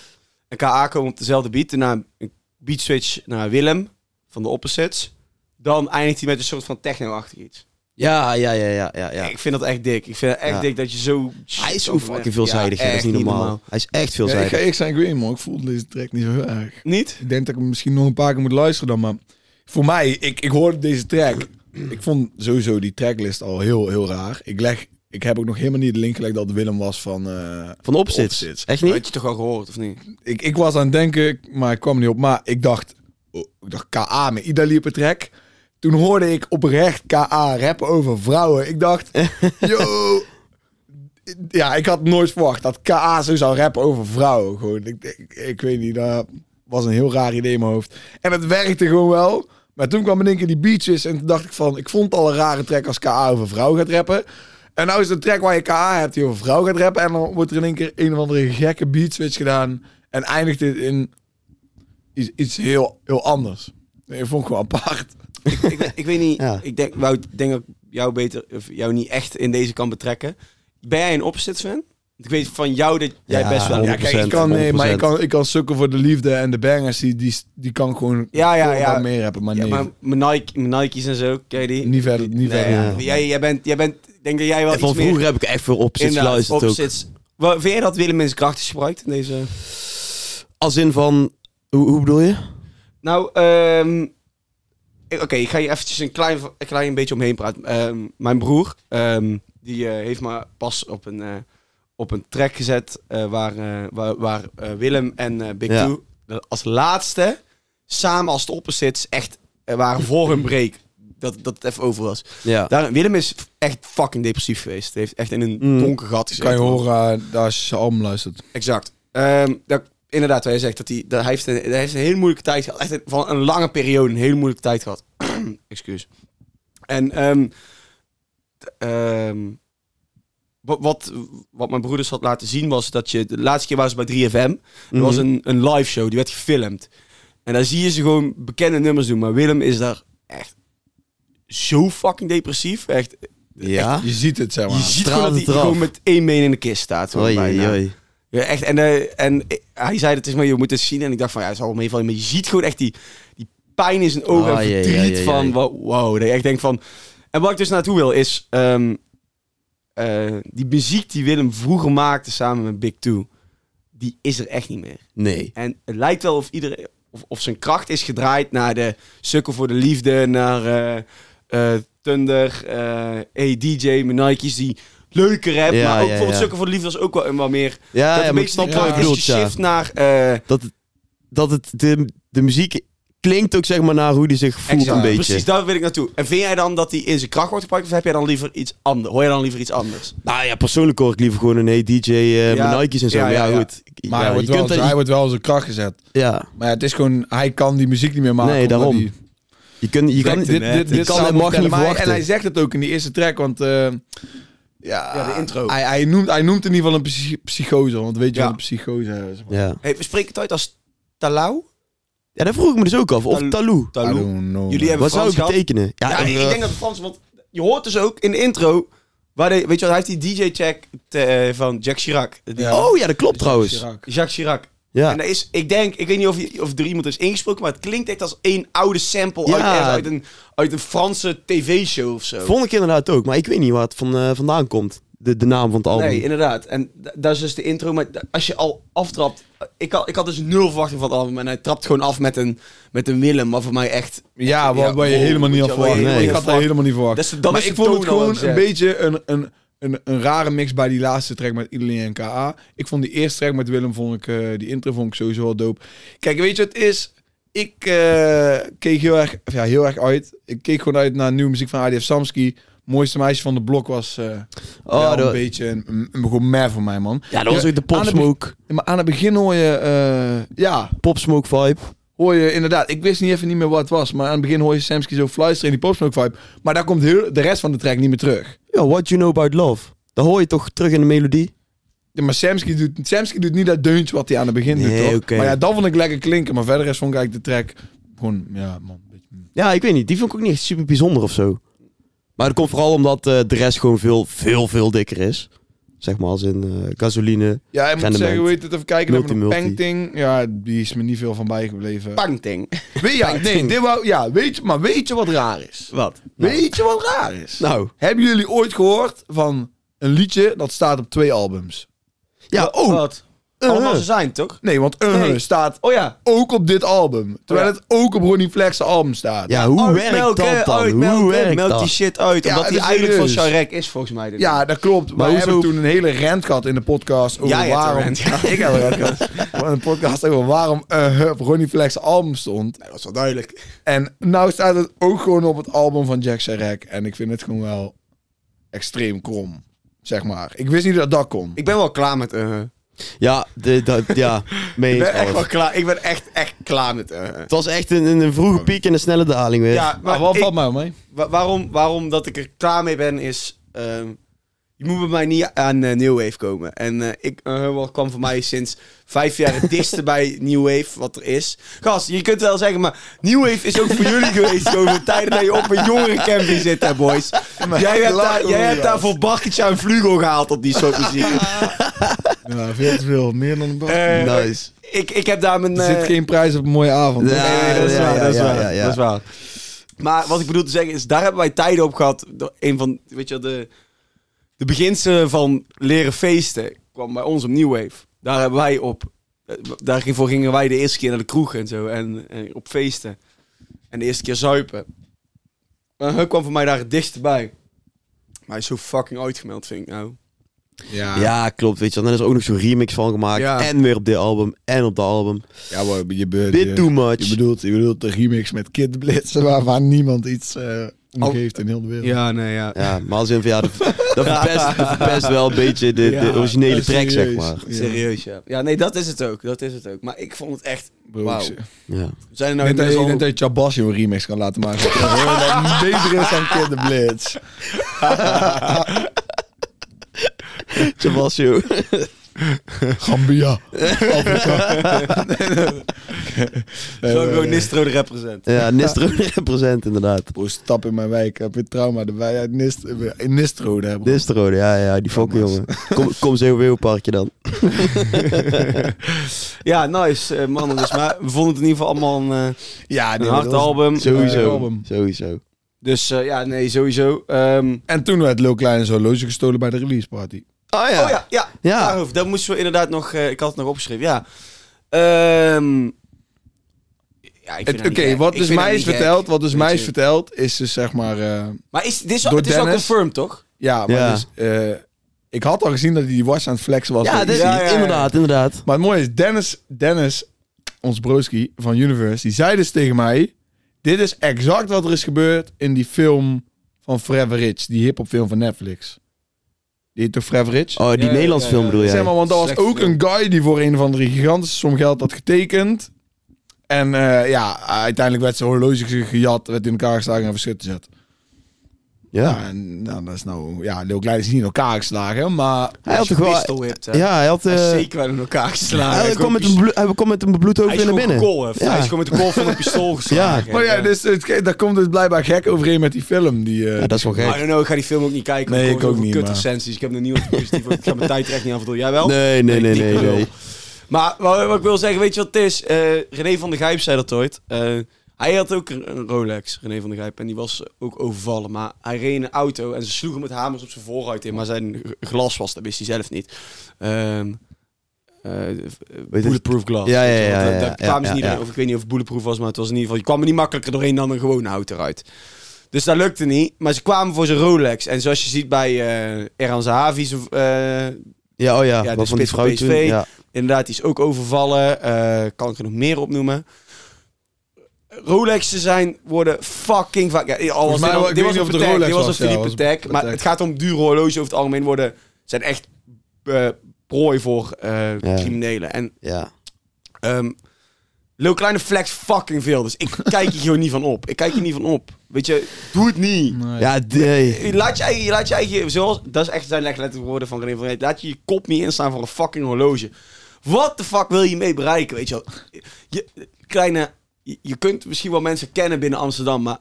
S2: En KA komen op dezelfde beat. Daarna een beat switch naar Willem van de Opposites. Dan eindigt hij met een soort van techno-achtig iets.
S3: Ja, ja, ja, ja, ja. ja.
S2: Ik vind dat echt dik. Ik vind het echt
S3: Ja.
S2: dik dat je zo...
S3: Hij is zo fucking veelzijdig,
S2: Ja,
S3: hè. dat is
S2: echt
S3: niet normaal. Hij is echt
S1: Ja, ik
S3: veelzijdig.
S1: ga ik zijn, ik weet niet, man. Ik voel deze track niet zo heel erg.
S2: Niet?
S1: Ik denk dat ik hem misschien nog een paar keer moet luisteren dan, maar voor mij, ik, ik hoorde deze track ik vond sowieso die tracklist al heel, heel raar. Ik, leg, ik heb ook nog helemaal niet de link gelegd dat Willem was van... eh,
S3: Van opzit.
S1: Opzits.
S3: Echt
S2: Dat
S3: niet?
S2: had je toch al gehoord, of niet?
S1: ik, ik was aan het denken, maar ik kwam niet op. Maar ik dacht, oh, ik dacht KA met Ida liep het track. Toen hoorde ik oprecht KA rappen over vrouwen. Ik dacht, yo. Ja, ik had nooit verwacht dat KA zo zou rappen over vrouwen. Gewoon, ik, ik, ik weet niet, dat was een heel raar idee in mijn hoofd. En het werkte gewoon wel. Maar toen kwam in één keer die beaches en toen dacht ik van... Ik vond het al een rare track als KA over vrouw gaat rappen. En nou is het een track waar je KA hebt die over vrouw gaat rappen. En dan wordt er in één keer een of andere gekke beat switch gedaan. En eindigt dit in iets, iets heel, heel anders. Nee, ik vond het gewoon apart.
S2: ik, ik weet niet.
S3: Ja.
S2: Ik denk, Wout, ik denk dat ik jou beter, of jou niet echt in deze kan betrekken. Ben jij een opzitsfan? Want Ik weet van jou dat jij
S3: Ja,
S2: best wel.
S1: Ja, kijk, ik kan, nee, maar ik kan, ik kan sukken voor de liefde en de bangers. Die, die, die kan ik gewoon
S2: Ja, Ah, ja,
S1: gewoon
S2: ja.
S1: wat meer hebben. Maar
S2: Ja,
S1: nee,
S2: maar mijn, Nike, mijn Nike's en zo, ken je die?
S1: niet verder. Niet
S2: Nee,
S1: verder.
S2: ja. Jij, jij bent, jij bent, ik denk dat jij wel
S3: En van
S2: iets meer
S3: vroeger heb ik echt veel opzits
S2: inderdaad
S3: geluisterd ook.
S2: opzits. Wat, vind jij dat Willem eens kracht is gebruikt in deze?
S3: Als in van... Hoe, hoe bedoel je?
S2: Nou, ehm, ik- oké, ik ga je eventjes een klein, een klein beetje omheen praten. Ehm, mijn broer, ehm, die eh, heeft me pas op een, eh, op een track gezet eh, waar, eh, waar, waar eh, Willem en eh, Big
S3: Ja.
S2: Two de- als laatste samen als de opposites echt eh, waren voor hun break. Dat, dat het even over was.
S3: Ja.
S2: Daar, Willem is echt fucking depressief geweest. Hij heeft echt in een
S3: Mm.
S2: donker gat gezeten.
S1: Kan je horen eh, als je album luistert.
S2: Exact. Ehm, dat, inderdaad, wat hij zegt dat hij, dat hij, heeft een, hij heeft een hele moeilijke tijd gehad. Echt een- van een lange periode, een hele moeilijke tijd gehad. Excuus. En ehm, t- ehm, wat, wat, wat mijn broeders had laten zien was dat je... De laatste keer waren ze bij 3FM. Er was
S3: Mhm.
S2: een, een live show, die werd gefilmd. En daar zie je ze gewoon bekende nummers doen. Maar Willem is daar echt zo fucking depressief. Echt,
S3: Ja?
S1: Je ziet het, zeg maar.
S2: Ah. je ziet
S3: straalt
S2: gewoon dat
S3: het
S2: hij
S3: eraf.
S2: gewoon met één been in de kist staat. gewoon
S3: Oei,
S2: bijna.
S3: oei, oei.
S2: Ja, echt. En, eh, en eh, hij zei dat is maar, je moet het zien. En ik dacht van, ja, het zal wel meevallen. Maar je ziet gewoon echt die, die pijn in zijn ogen
S3: Ah,
S2: en
S3: ja, ja,
S2: verdriet
S3: ja, ja.
S2: van, wa- wow. Dat je echt denkt van... En wat ik dus naartoe wil is, ehm, eh, die muziek die Willem vroeger maakte samen met Big Two, die is er echt niet meer.
S3: Nee.
S2: En het lijkt wel of iedereen, of, of zijn kracht is gedraaid naar de sukkel voor de liefde, naar eh, eh, Thunder, eh hey DJ, mijn Nike's, die leuke rap.
S3: Ja,
S2: maar ook
S3: ja,
S2: bijvoorbeeld
S3: ja.
S2: sukkel voor de liefde was ook wel een wat meer dat
S3: Ja, ja
S2: een
S3: maar ik
S2: beetje
S3: snap wat je
S2: kracht
S1: kracht
S3: bedoelt,
S2: is
S3: ja.
S2: geshift naar... eh,
S3: Dat het, dat het de, de muziek klinkt ook zeg maar naar hoe die zich voelt
S2: exact.
S3: een beetje.
S2: Precies, daar wil ik naartoe. En vind jij dan dat die in zijn kracht wordt gepakt? Of heb jij dan liever iets anders? Hoor je dan liever iets anders?
S3: Nou ja, persoonlijk hoor ik liever gewoon een hey, DJ eh
S2: Ja.
S3: met Nike's en zo.
S2: Ja,
S3: Ja,
S2: ja,
S3: ja,
S2: ja.
S3: goed. Ik-
S1: Maar
S3: ja,
S1: hij, wordt wel,
S3: dat-
S1: hij wordt wel zijn kracht gezet.
S3: ja.
S1: Maar ja, het is gewoon, hij kan die muziek niet meer maken.
S3: Nee,
S1: omdat
S3: daarom.
S1: die-
S3: Je, kunt je kan,
S1: dit, dit, dit, dit
S3: kan
S1: zou
S3: en
S1: hem
S3: mag
S1: vertellen.
S3: niet
S1: Maar hij- En hij
S3: verwachten.
S1: zegt het ook in die eerste track, want... eh, ja,
S2: Ja, de intro.
S1: Hij, hij, noemt, hij noemt in ieder geval een psy- psychose, want weet je
S2: Ja.
S1: wat een psychose is?
S3: Ja.
S2: Hey, we spreken het uit als Talau?
S3: ja, dat vroeg ik me dus ook af. Of
S2: Tal-
S3: Talou.
S1: I
S2: Talou.
S1: don't know,
S2: Jullie
S1: man.
S2: hebben
S3: Wat zou
S2: Frans
S3: het
S2: gehad.
S3: betekenen? Ja,
S2: Ja, ik
S3: eh,
S2: denk dat Frans... Want je hoort dus ook in de intro... Waar de, weet je wat, hij heeft die DJ-check eh, van Jack Chirac. Die-
S1: Ja.
S3: Oh ja, dat klopt trouwens.
S1: Chirac.
S2: Jacques Chirac. En
S3: Ja.
S2: daar is, ik denk, ik weet niet of, je- of er iemand is ingesproken, maar het klinkt echt als één oude sample uit,
S3: Ja.
S2: ergens uit, een, uit een Franse tv-show of zo.
S3: Vond ik inderdaad ook. Maar ik weet niet waar het van, eh, vandaan komt. De, de naam van het album.
S2: Nee, inderdaad. En da- dat is dus de intro. Maar da- als je al aftrapt... Ik had, ik had dus nul verwachting van het album. En hij trapt gewoon af met een, met een Willem. Maar voor mij echt...
S1: Ja, wat
S2: Ja,
S1: waar je
S2: wow,
S1: helemaal niet
S2: weet
S1: had
S2: je wel,
S1: verwacht.
S2: waar je
S3: helemaal
S1: Ik
S2: niet
S1: had
S2: verwacht.
S1: er helemaal niet verwacht.
S2: Dat is- dan
S1: maar
S2: is
S1: ik
S2: de
S1: vond het
S2: toon al
S1: gewoon
S2: wel
S1: een
S2: gezet.
S1: beetje een, een, een, een rare mix bij die laatste track met Iedereen en KA. Ik vond die eerste track met Willem, vond ik, eh, die intro vond ik sowieso wel dope. Kijk, weet je wat het is? Ik eh, keek heel erg, of ja, heel erg uit. Ik keek gewoon uit naar nieuwe muziek van ADF Samski. Mooiste meisje van de blok was eh
S3: Oh,
S1: ja, een
S3: dat-
S1: beetje een, een, een gewoon meh voor mij, man.
S3: Ja, dat was ook de Pop
S1: aan het
S3: Smoke.
S1: Maar aan het begin hoor je, eh, ja,
S3: Pop Smoke vibe.
S1: hoor je inderdaad, ik wist niet even niet meer wat het was, maar aan het begin hoor je Samsky zo fluisteren in die popsmoke vibe, maar daar komt heel, de rest van de track niet meer terug.
S3: Ja, What You Know About Love. Dat hoor je toch terug in de melodie?
S1: Ja, maar Samsky doet, Samsky doet niet dat deuntje wat hij aan het begin doet,
S3: Nee,
S1: toch?
S3: oké.
S1: Maar ja, dan vond ik lekker klinken, maar verder is vond ik eigenlijk de track gewoon, ja man, een beetje...
S3: Ja, ik weet niet. Die vond ik ook niet echt super bijzonder of zo. Maar dat komt vooral omdat eh, de rest gewoon veel, veel, veel dikker is. Zeg maar als in eh, gasoline.
S1: Ja, ik moet
S3: Rendement.
S1: zeggen, hoe heet het, even kijken,
S3: Multi,
S1: dan hebben we nog
S3: multi.
S1: Painting, ja, die is me niet veel van bijgebleven.
S2: Pangting.
S1: Weet, ja, nee, dit wou, ja, weet, je- maar weet je wat raar is?
S3: Wat?
S1: Weet je wat raar is?
S3: Nou.
S1: Hebben jullie ooit gehoord van een liedje dat staat op twee albums?
S3: Ja, oh.
S2: Wat? Allemaal ze zijn, toch?
S1: Nee, want uh,
S2: Nee.
S1: staat
S2: Oh ja.
S1: ook op dit album. Terwijl
S2: Ja.
S1: het ook op Ronnie Flex album staat.
S3: Ja, hoe
S2: Uit,
S3: werkt
S2: melk, hè,
S3: dat dan?
S2: uit, melk,
S3: hoe
S2: hè.
S3: werkt
S2: Melk die
S3: dat?
S2: shit uit.
S1: Ja,
S2: Omdat die
S1: dat is
S2: eigenlijk van
S1: serieus.
S2: Sharek is, volgens mij.
S1: Ja, dat klopt. Maar we
S2: hoezo-
S1: hebben toen een hele rant gehad in de podcast over
S2: Jij hebt een
S1: waarom...
S2: rant gehad.
S1: Ik heb een rant gehad. Maar Een podcast over waarom eh, hup, Ronnie Flex album stond.
S2: dat is wel duidelijk.
S1: En nou staat het ook gewoon op het album van Jack Sharek. En ik vind het gewoon wel extreem krom, zeg maar. Ik wist niet dat dat kon.
S2: Ik ben wel klaar met... eh, eh.
S3: Ja, de, dat- ja mee
S2: ik
S3: eens,
S2: ben echt
S3: Alf.
S2: wel klaar. Ik ben echt, echt klaar met... eh, eh.
S3: Het was echt een, een vroege piek en een snelle daling weer.
S2: Ja, maar
S1: maar Nou, wat
S2: ik-
S1: valt mij mee?
S2: wa- waarom, waarom dat ik er klaar mee ben is... ehm, je moet bij mij niet aan eh, New Wave komen. En eh, ik eh, wat kwam voor mij sinds vijf jaar het dichtste bij New Wave wat er is. Gast, je kunt wel zeggen, maar New Wave is ook voor jullie geweest. Over de tijden dat je op een jongerencamping zit, hè boys. Jij hebt,
S1: lachen
S2: daar,
S1: we
S2: jij
S1: niet,
S2: hebt daar
S1: gast.
S2: voor Barkertje en Vlugel gehaald op die soort muziek.
S1: Ja, veel te veel. Meer dan een bar.
S2: Eh,
S3: nice.
S2: ik, ik heb daar mijn...
S1: Er
S2: eh,
S1: zit geen prijs op een mooie avond.
S3: Ja.
S2: Nee, nee, dat is
S3: ja,
S2: waar,
S3: ja,
S2: dat is
S3: ja,
S2: waar,
S3: ja, ja.
S2: dat is waar. Maar wat ik bedoel te zeggen is, daar hebben wij tijden op gehad. Door Een van, weet je, wel, de, de beginselen van leren feesten kwam bij ons op New Wave. Daar hebben wij op, eh, daarvoor gingen wij de eerste keer naar de kroeg en zo, en, en op feesten. En de eerste keer zuipen. Maar hij kwam voor mij daar het dichtst bij. Maar hij is zo fucking uitgemeld, vind ik nou.
S1: Ja, ja.
S3: Ja, klopt. Weet je, wel. en er is ook nog zo'n remix van gemaakt.
S2: Ja.
S3: En weer op dit album. En op dat album.
S1: maar je, be-
S3: Bit too
S1: je,
S3: much.
S1: je, bedoelt, je bedoelt de remix met Kid Blitz, waar, waar niemand iets eh om
S2: Al-
S1: geeft in heel de wereld.
S2: Ja, nee,
S3: Ja, maar als in van ja, dat, dat, verpest, dat verpest wel een beetje de, de
S2: Ja,
S3: originele
S1: eh,
S3: track, zeg
S1: serieus.
S3: maar.
S1: Ja.
S2: Serieus, ja. Ja, nee, dat is het ook. Dat is het ook. Maar ik vond het echt...
S1: Bro,
S2: Wauw.
S1: ik-
S3: Ja.
S2: Zijn er nou
S1: Ik denk dat-
S2: inmiddels
S1: ik
S2: al-
S1: denk dat je Chabas een remix kan laten maken. Dat dat beter is dan Kid the Blitz.
S3: Sebastian.
S1: Gambia.
S2: Zo gewoon Nistro de represent.
S3: Ja, Nistro represent inderdaad.
S1: Bro, stap in mijn wijk. Heb je trauma erbij uit Nist eh, in Nistro daar, bro.
S3: Nistro, ja, ja, die fokken
S1: Thomas.
S3: jongen. Kom, kom zo weer op parkje dan.
S2: Ja, nice eh, mannen. Dus, maar we vonden het in ieder geval allemaal een, eh,
S1: Ja,
S2: een
S1: nee,
S2: hard
S1: dat was-
S2: album.
S1: Eh,
S3: Sowieso.
S1: album.
S3: Sowieso.
S2: Dus eh, ja, nee, sowieso. Ehm,
S1: En toen werd Lil Klein zo horloge gestolen bij de release party.
S3: Oh
S2: Oh ja, ja.
S3: Ja.
S2: Daarover, dat moesten we inderdaad nog... eh, ik had het nog opgeschreven, ja. Ehm, ja, ik vind dat
S1: Het-
S2: niet
S1: Oké,
S2: gek.
S1: wat
S2: Ik
S1: dus
S2: vind dat
S1: mij is
S2: niet gek.
S1: verteld, wat dus
S2: Weet
S1: mij
S2: je.
S1: is verteld, is dus zeg maar... eh,
S2: Maar is, dit is,
S1: Door
S2: het is al
S1: Dennis.
S2: confirmed, toch?
S1: ja, maar
S3: Ja.
S1: dus... eh, ik had al gezien dat hij die was aan het flexen was.
S3: Ja,
S1: door
S3: dit,
S1: Easy.
S2: Ja, ja, ja.
S3: inderdaad, inderdaad.
S1: Maar het mooie is, Dennis, Dennis, ons broski van Universe, die zei dus tegen mij... Dit is exact wat er is gebeurd in die film van Forever Rich. Die hiphop film van Netflix. Die heet toch Forever Rich?
S3: Oh, die
S2: Ja, ja,
S3: Nederlands
S2: ja,
S3: film
S2: ja.
S3: bedoel jij?
S1: Zeg maar, want dat was
S2: Slechte
S1: ook
S2: film.
S1: een guy die voor een of andere gigantische som geld had getekend. En eh, ja, uiteindelijk werd zijn horloge ge- gejat, werd in elkaar geslagen en verschut gezet. Ja,
S3: ja.
S1: en nou, dat is nou... Ja, Leo Klein is niet in elkaar geslagen, maar...
S3: Hij had
S2: Als je
S3: toch wel...
S2: pistol whipped, hè.
S3: Ja, hij had...
S2: Hij is
S3: eh,
S2: zeker Ah, wel in elkaar geslagen.
S3: hij, kwam met een blo- hij kwam met een bloed
S2: Hij is
S3: over naar
S2: gewoon
S3: binnen.
S2: gekolfd.
S3: Ja.
S2: Hij is gewoon met de kolf van een pistool geslagen.
S1: Maar ja, dus, het, daar komt dus blijkbaar gek overeen met die film. Die, eh,
S3: Ja, dat is wel
S2: I
S3: gek.
S2: don't know, ik ga die film ook niet kijken. want
S1: Nee,
S2: er
S1: ik
S2: komen
S1: ook
S2: zoveel
S1: niet,
S2: Kutrecensies. Ik heb nog niemand positief. ik ga mijn tijd er echt niet aan verdoen. Jij wel?
S3: Nee, nee, nee,
S2: Ik
S3: nee.
S2: dikke
S3: nee.
S2: lul. Maar wat, wat ik wil zeggen, weet je wat het is? Eh, René van der Gijp zei dat ooit. Eh, hij had ook een, een Rolex, René van der Gijp. En die was eh, ook overvallen. Maar hij reed in een auto en ze sloegen met hamers op zijn voorruit in. Maar zijn g- glas was, dat wist hij zelf niet. Ehm eh, bulletproof glas.
S3: Ja, ja, ja,
S2: Daar-
S3: ja,
S2: Daar
S3: ja,
S2: kwamen ze
S3: ja,
S2: niet
S3: ja.
S2: doorheen. Of ik weet niet of het bulletproof was, maar het was in ieder geval... Je kwam er niet makkelijker doorheen dan een gewone auto uit. Dus dat lukte niet. Maar ze kwamen voor zijn Rolex. En zoals je ziet bij eh Erhan Zahavi, zijn, eh,
S3: Ja, oh ja.
S2: Ja, de
S3: wat van die
S2: spits van
S3: vrouw toen.
S2: PSV.
S3: Ja.
S2: Inderdaad, die is ook overvallen. Eh, kan ik er nog meer opnoemen? Rolexen zijn worden fucking vaak. Ja, al was
S1: mij
S2: dit, al-
S1: wel- ik
S2: dit
S1: weet niet
S2: was
S1: of
S2: een
S1: het een
S2: Patek,
S1: Rolex
S2: dit was een
S1: was, ja,
S2: Philippe
S1: was een
S2: Patek, Maar
S1: Patek.
S2: het gaat om dure horloges over het algemeen worden. Zijn echt eh, prooi voor eh,
S3: Ja.
S2: criminelen. En
S3: ja.
S2: ehm Lil Kleine flex fucking veel. Dus ik kijk hier gewoon niet van op. Ik kijk hier niet van op. Weet je, doe het niet.
S1: Nee.
S3: Ja, nee.
S2: Je Laat je, eigen, je laat je eigen, zoals, dat is echt zijn echt letterlijke woorden van René van Rijt. Laat je je kop niet instaan voor een fucking horloge. Wat de fuck wil je mee bereiken, weet je wel? Je, kleine, je, je kunt misschien wel mensen kennen binnen Amsterdam, maar...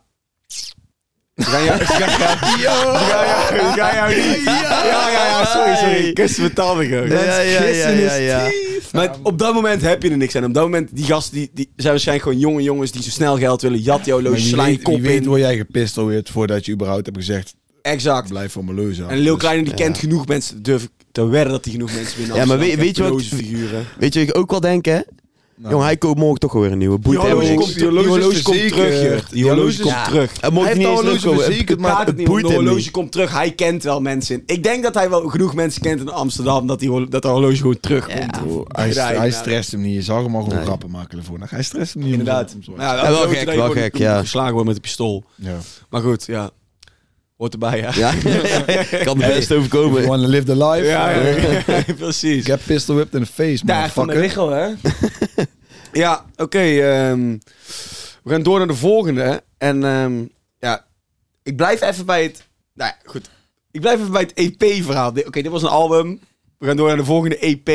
S2: Ze gaan jou- ze gaan jou- ze gaan jou- ze gaan jou niet... Ja, ja, ja, sorry, sorry. Kus mijn tanden gewoon.
S3: Ja, ja, ja, ja, ja.
S2: Maar op dat moment heb je er niks aan. Op dat moment, die gasten die, die zijn waarschijnlijk gewoon jonge jongens die zo snel geld willen. Jat jouw
S1: Maar
S2: horloge,
S1: wie
S2: sla je
S1: weet,
S2: kop
S1: wie weet
S2: in.
S1: word jij gepistoleerd voordat je überhaupt hebt gezegd,
S2: Exact.
S1: blijf van mijn leuze af.
S2: En Lil
S1: Dus-
S2: Kleine die
S3: ja.
S2: kent genoeg mensen, durf ik Te wedden dat hij genoeg mensen binnen
S3: Ja, maar
S2: Amsterdam
S3: weet- weet je
S2: krijgt,
S3: wat-
S2: boze figuren.
S3: Weet je, wat ik ook wel denk, hè?
S1: Nou.
S3: Jong, hij koopt morgen toch weer een nieuwe. Boeit
S2: Die
S3: hem
S2: horloge
S3: niks.
S2: komt, die horloge
S1: horloge
S2: komt
S1: verzekerd.
S2: terug, Jurt. Die horloge komt
S1: Ja.
S2: terug.
S3: Hij mocht
S1: Hij
S3: niet
S1: heeft
S3: eens
S1: al
S3: leuk
S1: horloge
S3: komen.
S1: verzekerd,
S3: Het
S1: maar
S2: Gaat
S3: het
S2: het niet,
S3: boeit
S2: want de
S3: hem
S2: horloge
S3: niet.
S2: komt terug. Hij kent wel mensen in. Ik denk dat hij wel genoeg mensen kent in Amsterdam. Dat, die, hor- dat de horloge gewoon terugkomt.
S1: Bro, hij,
S2: Ja,
S1: hij
S2: ja.
S1: stresst hem niet. Je zag hem al gewoon
S3: Nee.
S1: grappen maken ervoor. Nou, Hij stresst hem niet.
S2: Inderdaad.
S1: om zo- om zo-
S2: Maar
S3: Ja, wel
S2: grote
S3: gek,
S2: dat je
S3: wel
S2: gewoon
S3: gek,
S2: kunt
S3: ja.
S2: Geslagen wordt met een pistool.
S1: Ja.
S2: Maar goed, ja. Hoort erbij, ja.
S3: Ja, kan de best
S1: You
S3: overkomen.
S1: wanna live the life?
S2: Ja, ja,
S1: Eh,
S2: ja. precies.
S1: Get pistol whipped in the face,
S2: Daar van de
S1: motherfucker.
S2: lichaam, hè? ja, oké. ehm, we gaan door naar de volgende. En ehm, ja, ik blijf even bij het... Nou ja, goed. Ik blijf even bij het EP-verhaal. Oké, dit was een album. We gaan door naar de volgende EP.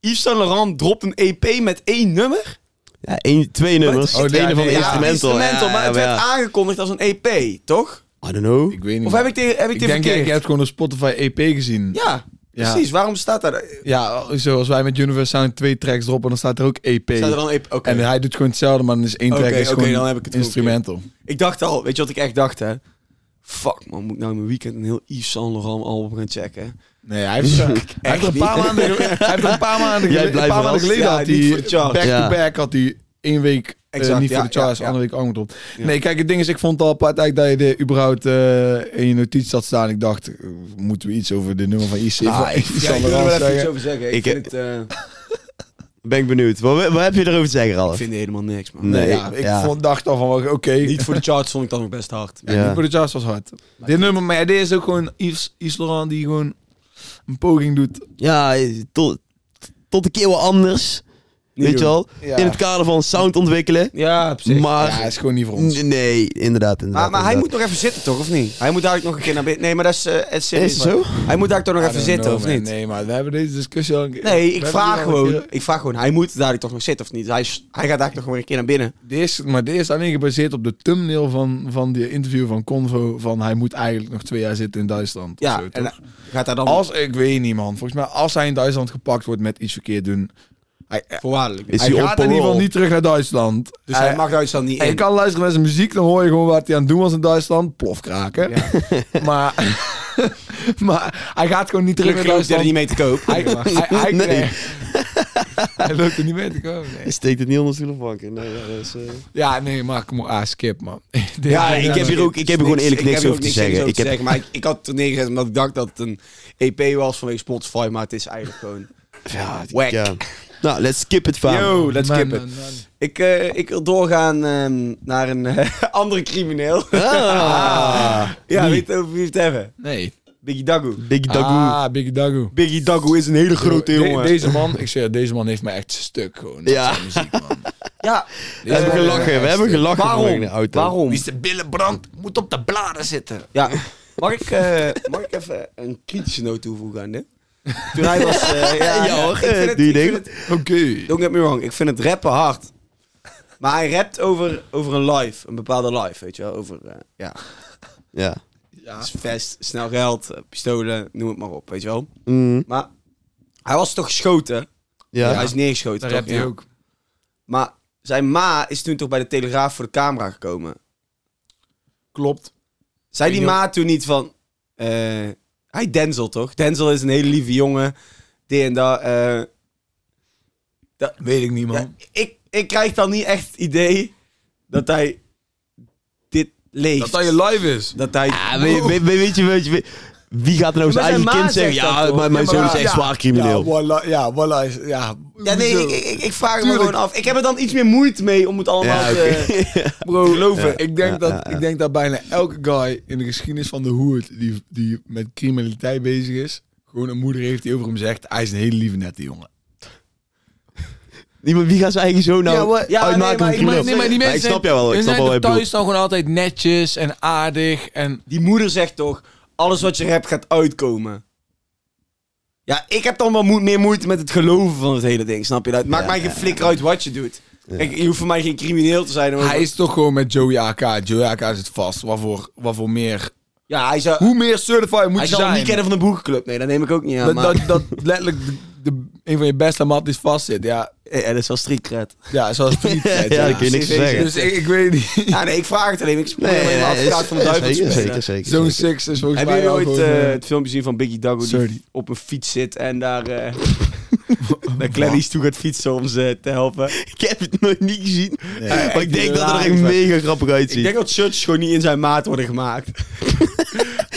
S2: Yves Saint Laurent dropt een EP met één nummer.
S3: Ja, één, twee nummers.
S1: Oh, de ene van de
S2: Ja,
S3: instrumental.
S2: instrumental,
S3: Ja,
S2: maar het
S3: ja,
S2: werd
S3: ja.
S2: aangekondigd als een EP, toch?
S3: I don't know.
S1: Ik weet niet.
S2: Of heb ik tegen heb ik
S1: ik
S2: dit
S1: denk, jij
S2: verkeerd?
S1: jij hebt gewoon een Spotify EP gezien.
S2: Ja,
S1: Ja.
S2: precies. Waarom staat daar... Staat
S1: Ja, zoals wij met Universe Sound twee tracks droppen, dan staat er ook EP.
S2: er dan een EP? Oké.
S1: En hij doet gewoon hetzelfde, maar dan is één
S2: Oké,
S1: track is
S2: oké,
S1: gewoon
S2: dan heb ik het ook,
S1: instrumental.
S2: Ik dacht al, weet je wat ik echt dacht, hè? Fuck man, moet ik nou in mijn weekend een heel Yves Saint Laurent album gaan checken?
S1: Nee, hij heeft, hij heeft er een paar
S2: niet.
S1: maanden, hij heeft er een paar maanden,
S3: Jij
S1: geleden, een
S3: blijft
S1: paar maanden
S3: verrast.
S1: geleden
S2: Ja,
S1: had
S2: niet voor de
S1: hij
S2: charts.
S1: back-to-back
S3: Ja.
S1: had hij één week eh,
S2: Exact,
S1: niet voor
S2: ja,
S1: de charts,
S2: ja, ja.
S1: andere week ook op.
S2: Ja.
S1: Nee, kijk, het ding is, ik vond het al apart eigenlijk dat je er überhaupt eh, in je notitie had staan. Ik dacht, eh, moeten we iets over de nummer van IC?
S3: Ah,
S1: van-
S3: ik-
S1: Yves
S2: Ja,
S1: Saint
S2: ik wil er
S1: Laurent
S2: wel even iets
S1: zeggen?
S2: over zeggen. Ik,
S3: Ik-
S2: vind, het, eh,
S3: Ben ik benieuwd. Wat, wat heb je erover te zeggen,
S2: ik
S3: Ralf?
S2: vind helemaal niks, man.
S3: Nee.
S1: Ja, ik
S3: ja.
S1: vond, dacht al van, oké,
S2: Niet voor de charts vond ik dat nog best hard.
S1: Ja,
S3: Ja.
S1: Niet voor de charts was hard. dit nummer, maar ja, dit is ook gewoon Yves, Yves Laurent die gewoon een poging doet.
S3: Ja, tot, tot een keer wat anders.
S2: Niet
S3: weet je
S2: doen.
S3: wel?
S1: Ja.
S3: In het kader van sound ontwikkelen.
S2: Ja, op zich. Maar,
S3: Maar...
S1: Ja, is gewoon niet voor ons.
S3: N- Nee, inderdaad, inderdaad.
S2: maar, hij
S3: inderdaad.
S2: moet nog even zitten, toch? Of niet? Hij moet daar nog een keer naar binnen. Nee, maar dat is... eh, het zit
S3: Is
S2: niet,
S3: het zo?
S2: maar- Hij moet daar toch nog
S1: I
S2: even
S1: don't
S2: zitten,
S1: know,
S2: of
S1: man.
S2: niet? Nee,
S1: Nee, maar we hebben deze discussie al een keer- we
S2: ik,
S1: hebben
S2: vraag
S1: hier al een
S2: gewoon,
S1: keer-
S2: ik vraag gewoon. Hij moet daar toch nog zitten, of niet? Hij, is- hij gaat daar toch nog maar een keer naar binnen.
S1: Dit is, maar dit is alleen gebaseerd op de thumbnail van, van die interview van Convo. Van hij moet eigenlijk nog twee jaar zitten in Duitsland. of
S2: Ja,
S1: zo,
S2: en
S1: toch?
S2: gaat daar dan...
S1: als, ik weet niet man, volgens mij als hij in Duitsland gepakt wordt met iets verkeerd doen. Hij,
S2: Voorwaardelijk.
S3: Is
S1: hij
S3: hij
S1: gaat in ieder geval niet terug naar Duitsland.
S2: dus hij mag Duitsland niet
S1: En je
S2: in.
S1: kan luisteren naar zijn muziek, dan hoor je gewoon wat hij aan het doen was in Duitsland. Plofkraken. maar, maar hij gaat gewoon niet terug naar
S2: Gelukkig loopt
S1: Duitsland.
S2: hij er niet mee te koop.
S1: Hij, hij, hij,
S3: Nee.
S1: nee. hij loopt er niet mee te komen. nee.
S3: Hij steekt het niet onder stoel of banken. Nee, ja, dat is... eh,
S1: Ja, nee, maar kom op. Ah, skip, man.
S2: Ja,
S1: Dit-
S2: ik heb hier ook, ik heb er gewoon eerlijk niks, over te zeggen. Ik
S3: heb-
S2: zeggen maar ik, ik had het neergezet omdat ik dacht dat het een EP was vanwege Spotify, maar het is eigenlijk gewoon...
S3: Ja,
S2: Wack.
S3: ja. Nou, let's skip it, fam.
S2: Yo, let's
S1: Man,
S2: skip
S1: man,
S2: it.
S1: man.
S2: Ik, eh, ik wil doorgaan ehm, naar een eh, andere crimineel.
S3: Ah.
S2: ja, weet je over wie we het hebben?
S1: Nee.
S2: Biggie Dagu.
S3: Big Dagoe.
S1: Ah, Biggie Dagoe.
S2: Biggie Dagu is een hele grote
S1: De-
S2: jongen.
S1: deze man, ik zeg, deze man heeft mij echt stuk gewoon.
S3: Ja.
S1: Ja. Muziek, man.
S2: ja,
S3: We hebben
S1: Eh,
S3: gelachen, we
S1: eh,
S3: hebben gelachen vanmorgen in de
S2: waarom?
S3: auto.
S2: Waarom?
S1: zijn billen brandt, moet op de bladen zitten.
S2: Ja. Mag ik, eh, mag ik even een kritische noot toevoegen aan dit? Toen hij was... eh, ja,
S3: Ja, hoor,
S2: ik vind
S3: eh,
S2: het-
S3: doe je
S2: ik vind
S3: ding.
S2: het-
S1: Oké.
S2: Don't get me wrong, ik vind het rappen hard. Maar hij rapt over, over een live, een bepaalde live, weet je wel. Over, eh, ja,
S3: Ja.
S2: dus vest, snel geld, eh, pistolen, noem het maar op, weet je wel.
S3: Mm,
S2: Maar hij was toch geschoten?
S3: ja.
S2: Hij is neergeschoten,
S1: Daar
S2: toch?
S1: heb je
S2: Ja.
S1: ook.
S2: Maar zijn ma is toen toch bij de Telegraaf voor de camera gekomen.
S1: Klopt.
S2: Zei
S1: Ik
S2: die
S1: weet
S2: ma toen niet van... eh, hij Denzel, toch? Denzel is een hele lieve jongen. Die en dat... eh,
S1: Weet ik niet, man.
S2: Ja, ik, ik krijg dan niet echt het idee dat hij dit leeft.
S1: Dat dat je live is.
S2: Dat hij...
S3: Ah, weet, weet, weet, weet je, weet je, weet- wie gaat er nou
S2: Maar
S3: zijn eigen
S2: zijn
S3: kind
S2: ma
S3: zeggen?
S2: zegt dat
S3: Ja,
S2: toch?
S3: mijn, mijn
S1: Ja,
S3: zoon
S1: maar
S3: is echt zwaar crimineel.
S1: Ja, voilà, ja, voilà is, ja.
S2: ja, nee,
S1: Hoezo?
S2: ik, ik, ik vraag het me
S1: Tuurlijk.
S2: gewoon af. Ik heb er dan iets meer moeite mee om het allemaal
S3: Ja,
S2: te...
S1: Bro, geloof me, ik denk,
S3: ja,
S1: dat,
S3: ja, ja.
S1: ik denk dat bijna elke guy in de geschiedenis van de hoed die, die met criminaliteit bezig is, gewoon een moeder heeft die over hem zegt, hij is een hele lieve nette jongen.
S3: Niemand, wie gaat zijn eigen zoon nou
S1: Ja, maar-
S2: ja, nee,
S3: uitmaken
S2: maar
S3: van
S2: ik-
S3: crimineel?
S2: maar- nee, maar die
S3: ik snap jou wel, ik snap wel wat je bedoelt.
S1: thuis dan gewoon altijd netjes en aardig en...
S2: Die moeder zegt toch, alles wat je hebt gaat uitkomen. Ja, ik heb dan wel moe- meer moeite met het geloven van het hele ding, snap je dat? Maakt
S3: Ja,
S2: mij geen
S3: ja,
S2: flikker uit wat je doet. Ik, je hoeft voor mij geen crimineel te zijn. hoor.
S1: Hij is toch gewoon met Joey AK. Joey AK zit vast. Wat voor, wat voor meer...
S2: ja, hij zou,
S1: Hoe meer certified moet
S2: hij
S1: je
S2: zal hem
S1: zijn?
S2: niet kennen van de boekenclub. Nee, dat neem ik ook niet aan.
S1: dat,
S2: maar-
S1: dat, dat letterlijk de, de, een van je beste mat is vastzit. Ja,
S2: En dat is wel streetcred.
S1: ja zoals Piet. zei,
S3: Ja, daar kun je niks te zeggen.
S1: Dus ik, ik weet niet.
S2: Ja, nee, ik vraag het alleen. Ik speel
S3: Nee,
S2: alleen
S3: nee,
S2: maar
S3: nee,
S2: advocaat
S3: is-
S2: van de duivel te
S3: zeker,
S2: spelen.
S3: zeker, zeker.
S1: Zo'n
S3: zeker.
S1: six is volgens mij
S2: Hebben jullie
S1: wel
S2: ooit
S1: gewoon,
S2: eh,
S1: eh,
S2: het filmpje zien van Biggie Dago
S1: Sorry.
S2: die op een fiets zit en daar eh naar Gladys toe gaat fietsen om ze te helpen?
S3: Ik heb het nog niet gezien. maar ik denk dat het er echt
S2: hilarisch, man.
S3: mega grappig
S2: Ik
S3: uitziet.
S2: denk dat shirts gewoon niet in zijn maat worden gemaakt.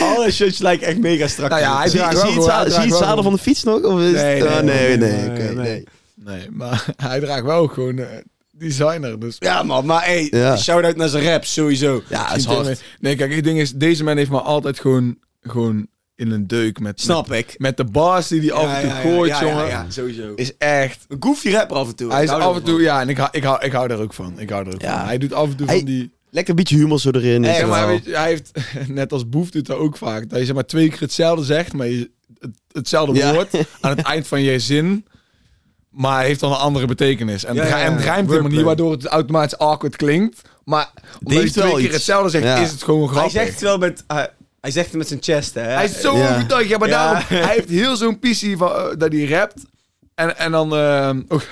S2: Alle shirts lijken echt mega strak.
S1: Nou ja, hij
S3: Zie
S1: draagt
S3: zie
S1: wel
S3: je het
S1: gewoon- hij
S3: zadel- zie je
S1: draagt
S3: het
S1: wel
S3: zadel van de fiets nog? Of is het-
S2: Nee,
S3: oh,
S2: nee,
S3: nee,
S2: nee,
S3: nee,
S2: nee,
S3: oké,
S2: nee.
S3: nee.
S1: Nee, maar hij draagt wel gewoon eh, designer. Dus
S2: Ja, man, maar hey,
S3: Ja.
S2: shout-out naar zijn rap sowieso.
S3: Ja, het is
S1: Misschien
S3: hard.
S1: tegen mij- Nee, kijk, het ding is, deze man heeft me altijd gewoon, gewoon in een deuk met,
S2: Snap ik.
S1: met, met de bars die hij af en toe gooit,
S2: ja, ja,
S1: jongen.
S2: ja, sowieso.
S1: Is echt.
S2: Een goofy rapper af en toe.
S1: Hij
S2: Ik
S1: is
S2: hou
S1: af en
S2: ervan.
S1: toe, ja, en ik, hou- ik, hou, ik hou daar ook van. Ik hou daar ook
S3: Ja.
S1: van. Hij doet af en toe
S3: Hij-
S1: van die.
S3: Lekker beetje humor zo erin. is
S1: Zeg
S3: wel.
S1: maar, weet je, hij heeft, net als Boef doet dat ook vaak, dat je zeg maar twee keer hetzelfde zegt, maar je, het, hetzelfde
S3: Ja.
S1: woord aan het eind van je zin. Maar heeft dan een andere betekenis. En,
S2: Ja,
S1: het ri-
S2: ja, ja.
S1: en het rijmt helemaal niet,
S2: Wordplay.
S1: waardoor het automatisch awkward klinkt. Maar omdat je
S3: heeft
S1: twee
S3: wel
S1: keer
S3: iets.
S1: hetzelfde zegt,
S3: Ja.
S1: is het gewoon
S2: Hij
S1: grappig.
S2: zegt het wel met... hij- hij zegt het met zijn chest, hè.
S1: Hij is zo
S3: Ja.
S1: overtuigd. Ja, maar
S2: Ja.
S1: daarom... Hij heeft heel zo'n pissie van, eh, dat hij rapt. En, en dan... eh, ook-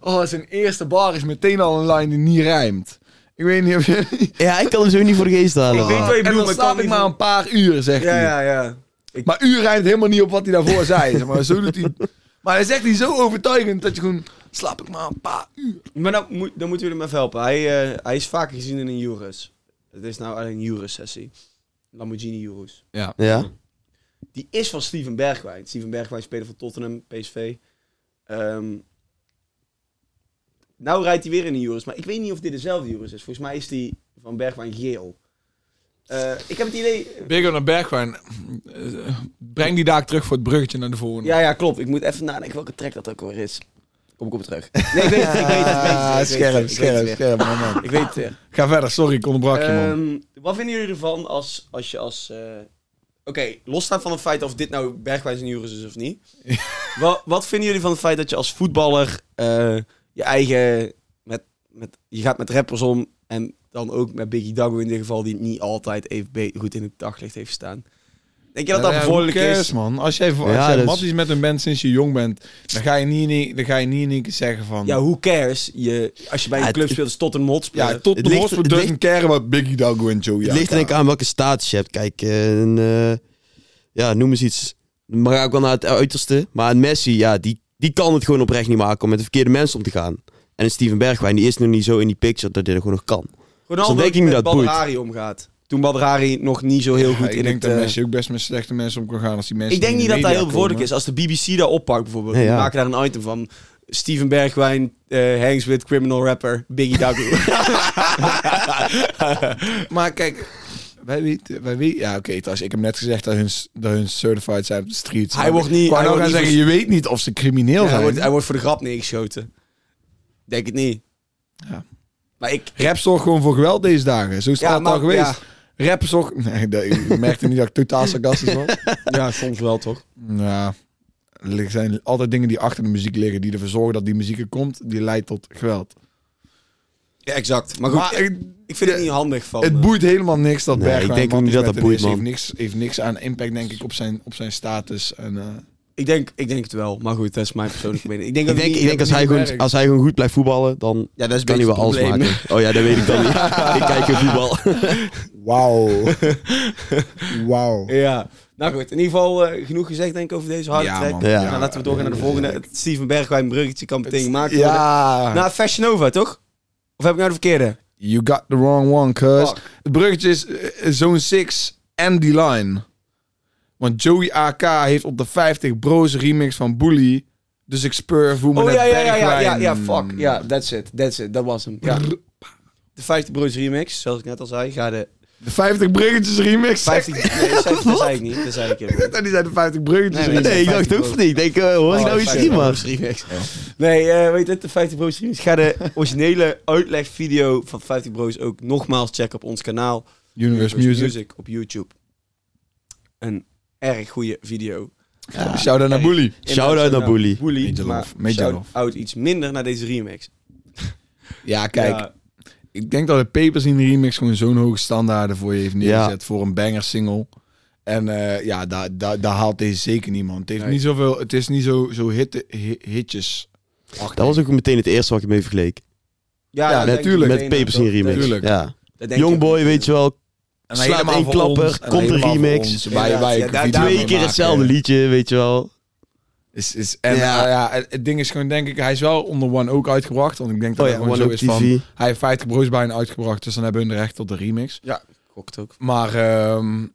S1: oh, zijn eerste bar is meteen al een line die niet rijmt. Ik weet niet of je...
S3: Ja, ik kan hem zo niet voor de geest halen.
S2: Ik weet wat je
S1: en
S2: bedoelt,
S1: dan
S2: maar
S1: slaap
S2: kan
S1: ik
S2: niet-
S1: maar een paar uur, zegt
S2: Ja,
S1: hij.
S2: ja, ja. Ik-
S1: Maar uur rijmt helemaal niet op wat hij daarvoor zei. zeg maar zo doet hij... Maar hij zegt hij zo overtuigend dat je gewoon... Slaap ik maar een paar uur.
S2: Maar dan, moet, dan moeten jullie hem even helpen. Hij, eh, hij is vaker gezien in een Juris. Het is nou eigenlijk een Juris-sessie. Lamborghini Juris.
S3: Ja?
S2: Die is van Steven Bergwijn. Steven Bergwijn speler van Tottenham, PSV. Ehm, nou rijdt hij weer in een Juris. Maar ik weet niet of dit dezelfde Juris is. Volgens mij is die van Bergwijn geel. Eh, ik heb het idee...
S1: Bigger naar Bergwijn. eh, Breng die daar terug voor het bruggetje naar de volgende.
S2: Ja, ja, klopt. Ik moet even nadenken welke track dat ook alweer is. Kom ik op terug. Nee, ik weet het, ik weet het, ik weet het. ik weet
S1: Ah, scherp,
S2: het, ik weet het
S1: scherp,
S2: weer.
S1: scherp. man, man.
S2: Ik weet het weer.
S1: Ga verder, sorry, ik onderbrak je, man.
S2: Ehm, wat vinden jullie ervan als, als je als... eh, Oké, losstaan van het feit of dit nou Bergwijs en Juris is of niet. wat, wat vinden jullie van het feit dat je als voetballer eh, je eigen... Met, met, je gaat met rappers om en dan ook met Biggie Dago in dit geval... die het niet altijd even be- goed in het daglicht heeft staan. Denk je dat dat
S1: Ja,
S2: bevorderlijk
S1: Eh, who cares,
S2: is?
S1: man. Als jij, voor- als jij
S3: Ja,
S2: dus-
S3: dat is-
S1: matties met een band sinds je jong bent, dan ga je niet in één- dan ga je niet in één keer zeggen van...
S2: Ja, who cares? Je, als je bij een
S3: Ja,
S2: club
S3: het-
S2: speelt, is tot een mot
S1: ja,
S2: spelen.
S1: tot
S3: Het
S1: de
S3: ligt-
S1: Hotspur
S3: het
S1: doesn't care wat Biggie Dago en Joey
S3: Het ligt er denk ik aan welke status je hebt. Kijk, eh, een, eh, ja, noem eens iets. Maar ook wel naar het uiterste. Maar een Messi, ja, die, die kan het gewoon oprecht niet maken om met de verkeerde mensen om te gaan. En een Steven Bergwijn, die is nog niet zo in die picture dat dit er gewoon nog kan.
S2: Ronaldo
S3: Dus dan denk ik
S2: die
S3: niet
S2: met
S3: dat boeit.
S2: Badrari omgaat. Toen Badrari nog niet zo heel goed
S1: ik
S2: in
S1: denk
S2: het...
S1: dat
S2: eh,
S1: Messi ook best met slechte mensen om kan gaan als die mensen
S2: Ik denk niet dat dat heel bevorderlijk is. Als de BBC daar oppakt bijvoorbeeld. Die
S3: Ja, ja.
S2: maken daar een item van. Steven Bergwijn, eh, hangs with criminal rapper Biggie Dago.
S1: is. Maar kijk, wij weten... Wij weten ja, oké, trouwens, ik heb net gezegd dat hun, dat hun certified zijn op de streets.
S2: Hij
S1: Maar
S2: wordt
S1: ik
S2: niet-
S1: wou
S2: hij
S1: nou
S2: wordt
S1: gaan
S2: niet
S1: zeggen, je weet niet of ze crimineel
S2: Ja, hij,
S1: zijn.
S2: wordt, hij wordt voor de grap neergeschoten. Denk het niet.
S1: Ja.
S2: Maar ik...
S1: Rap zorgt gewoon voor geweld deze dagen. Zo is het
S2: Ja,
S1: altijd al
S2: maar-
S1: geweest. Rap zorgt... Nee, dat- ik merkte niet dat ik totaal sarcastisch was.
S2: Ja, soms wel toch?
S1: Ja, er zijn altijd dingen die achter de muziek liggen, die ervoor zorgen dat die muziek er komt, die leidt tot geweld.
S2: Ja, exact. Maar goed,
S1: Maar
S2: ik,
S1: het,
S2: ik vind het niet handig van...
S1: het
S2: eh,
S1: boeit helemaal niks dat
S3: Nee,
S1: Bergwijn...
S3: ik denk ook niet
S1: Matties
S3: dat
S1: met
S3: dat
S1: hem is.
S3: boeit, man.
S1: Heeft niks, heeft niks aan impact, denk ik, op zijn, op zijn status. En, eh,
S2: ik, denk, ik denk het wel. Maar goed, dat is mijn persoonlijke mening. Ik denk,
S3: Ik
S2: dat
S3: denk,
S2: het
S3: ik
S2: niet-
S3: denk als, hij gewoon, als hij gewoon goed blijft voetballen, dan
S2: Ja, dat is
S3: kan hij wel alles
S2: probleem.
S3: maken. Oh ja, dat weet ik dan niet. ik kijk in voetbal.
S1: Wauw. Wauw.
S2: Ja. Nou goed, in ieder geval eh, genoeg gezegd denk ik over deze harde
S1: Ja,
S2: track.
S1: man.
S3: Ja.
S2: Nou, laten we doorgaan naar de volgende. Het Steven Bergwijn bruggetje kan meteen gemaakt worden.
S1: Ja.
S2: Naar Fashion Nova, toch? Of heb ik nou de verkeerde?
S1: You got the wrong one, cuz.
S2: Fuck.
S1: Het bruggetje is eh, zo'n 6 en die line. Want Joey AK heeft op de 50 bro's remix van Bully. Dus ik speur voel me
S2: Oh
S1: net
S2: ja, ja, ja, ja, ja,
S1: Bergwijn.
S2: ja, fuck. Ja, that's it, that's it, dat was hem. Ja. De 50 Broers remix, zoals ik net al zei, ga de
S1: De 50 bruggetjes remix.
S2: 50... Nee, dat zei, dat zei ik niet, dat zei ik helemaal niet.
S1: En die zijn de 50 bruggetjes
S2: Nee,
S1: remix.
S3: Nee, ik dacht ook van niet. Ik denk, eh, hoor ik
S2: Oh,
S3: nou iets
S2: 50
S3: niet, man?
S2: Broers remix. Nee, eh, weet je, het, de 50 Broers remix. Ga de originele uitlegvideo van 50 Broers ook nogmaals checken op ons kanaal.
S1: Universe Music.
S2: op YouTube. Een erg goede video.
S1: Ja. Shout-out naar Bully.
S3: Shout-out naar Bully.
S1: Major
S2: Bully, maar
S1: love, major love.
S2: shout-out iets minder naar deze remix.
S1: Ja, kijk.
S2: Ja,
S1: Ik denk dat de Papers in de remix gewoon zo'n hoge standaarden voor je heeft neergezet. Voor een banger single. En eh, ja, daar daar daar haalt deze zeker niemand. Het, heeft
S2: Nee.
S1: niet zoveel, het is niet zo, zo hit, hi- hitjes.
S3: Dat was ook meteen het eerste wat ik mee vergeleek.
S2: Ja,
S1: Ja,
S2: dan denk ik
S1: natuurlijk.
S3: Met
S2: meteen
S3: Papers
S2: dat-
S3: in remix.
S1: tuurlijk.
S3: Ja.
S2: dat denk ik ook.
S3: Youngboy, weet je wel. Slaat één klapper, komt een remix.
S1: Bij, bij
S2: Ja, daar- daar-
S3: Twee keer hetzelfde liedje, weet je wel.
S1: Oh Is, is, en eh,
S3: Ja.
S1: ja. ja, het- het ding is gewoon, denk ik, hij is wel onder One ook uitgebracht. Want ik denk dat
S3: Oh
S1: hij
S3: ja,
S1: gewoon
S3: One
S1: zo
S3: Oak
S1: is
S3: TV.
S1: van... Hij heeft 50 broers bijna uitgebracht, dus dan hebben hun recht tot de remix.
S2: Ja, gokt ook.
S1: Maar, ehm,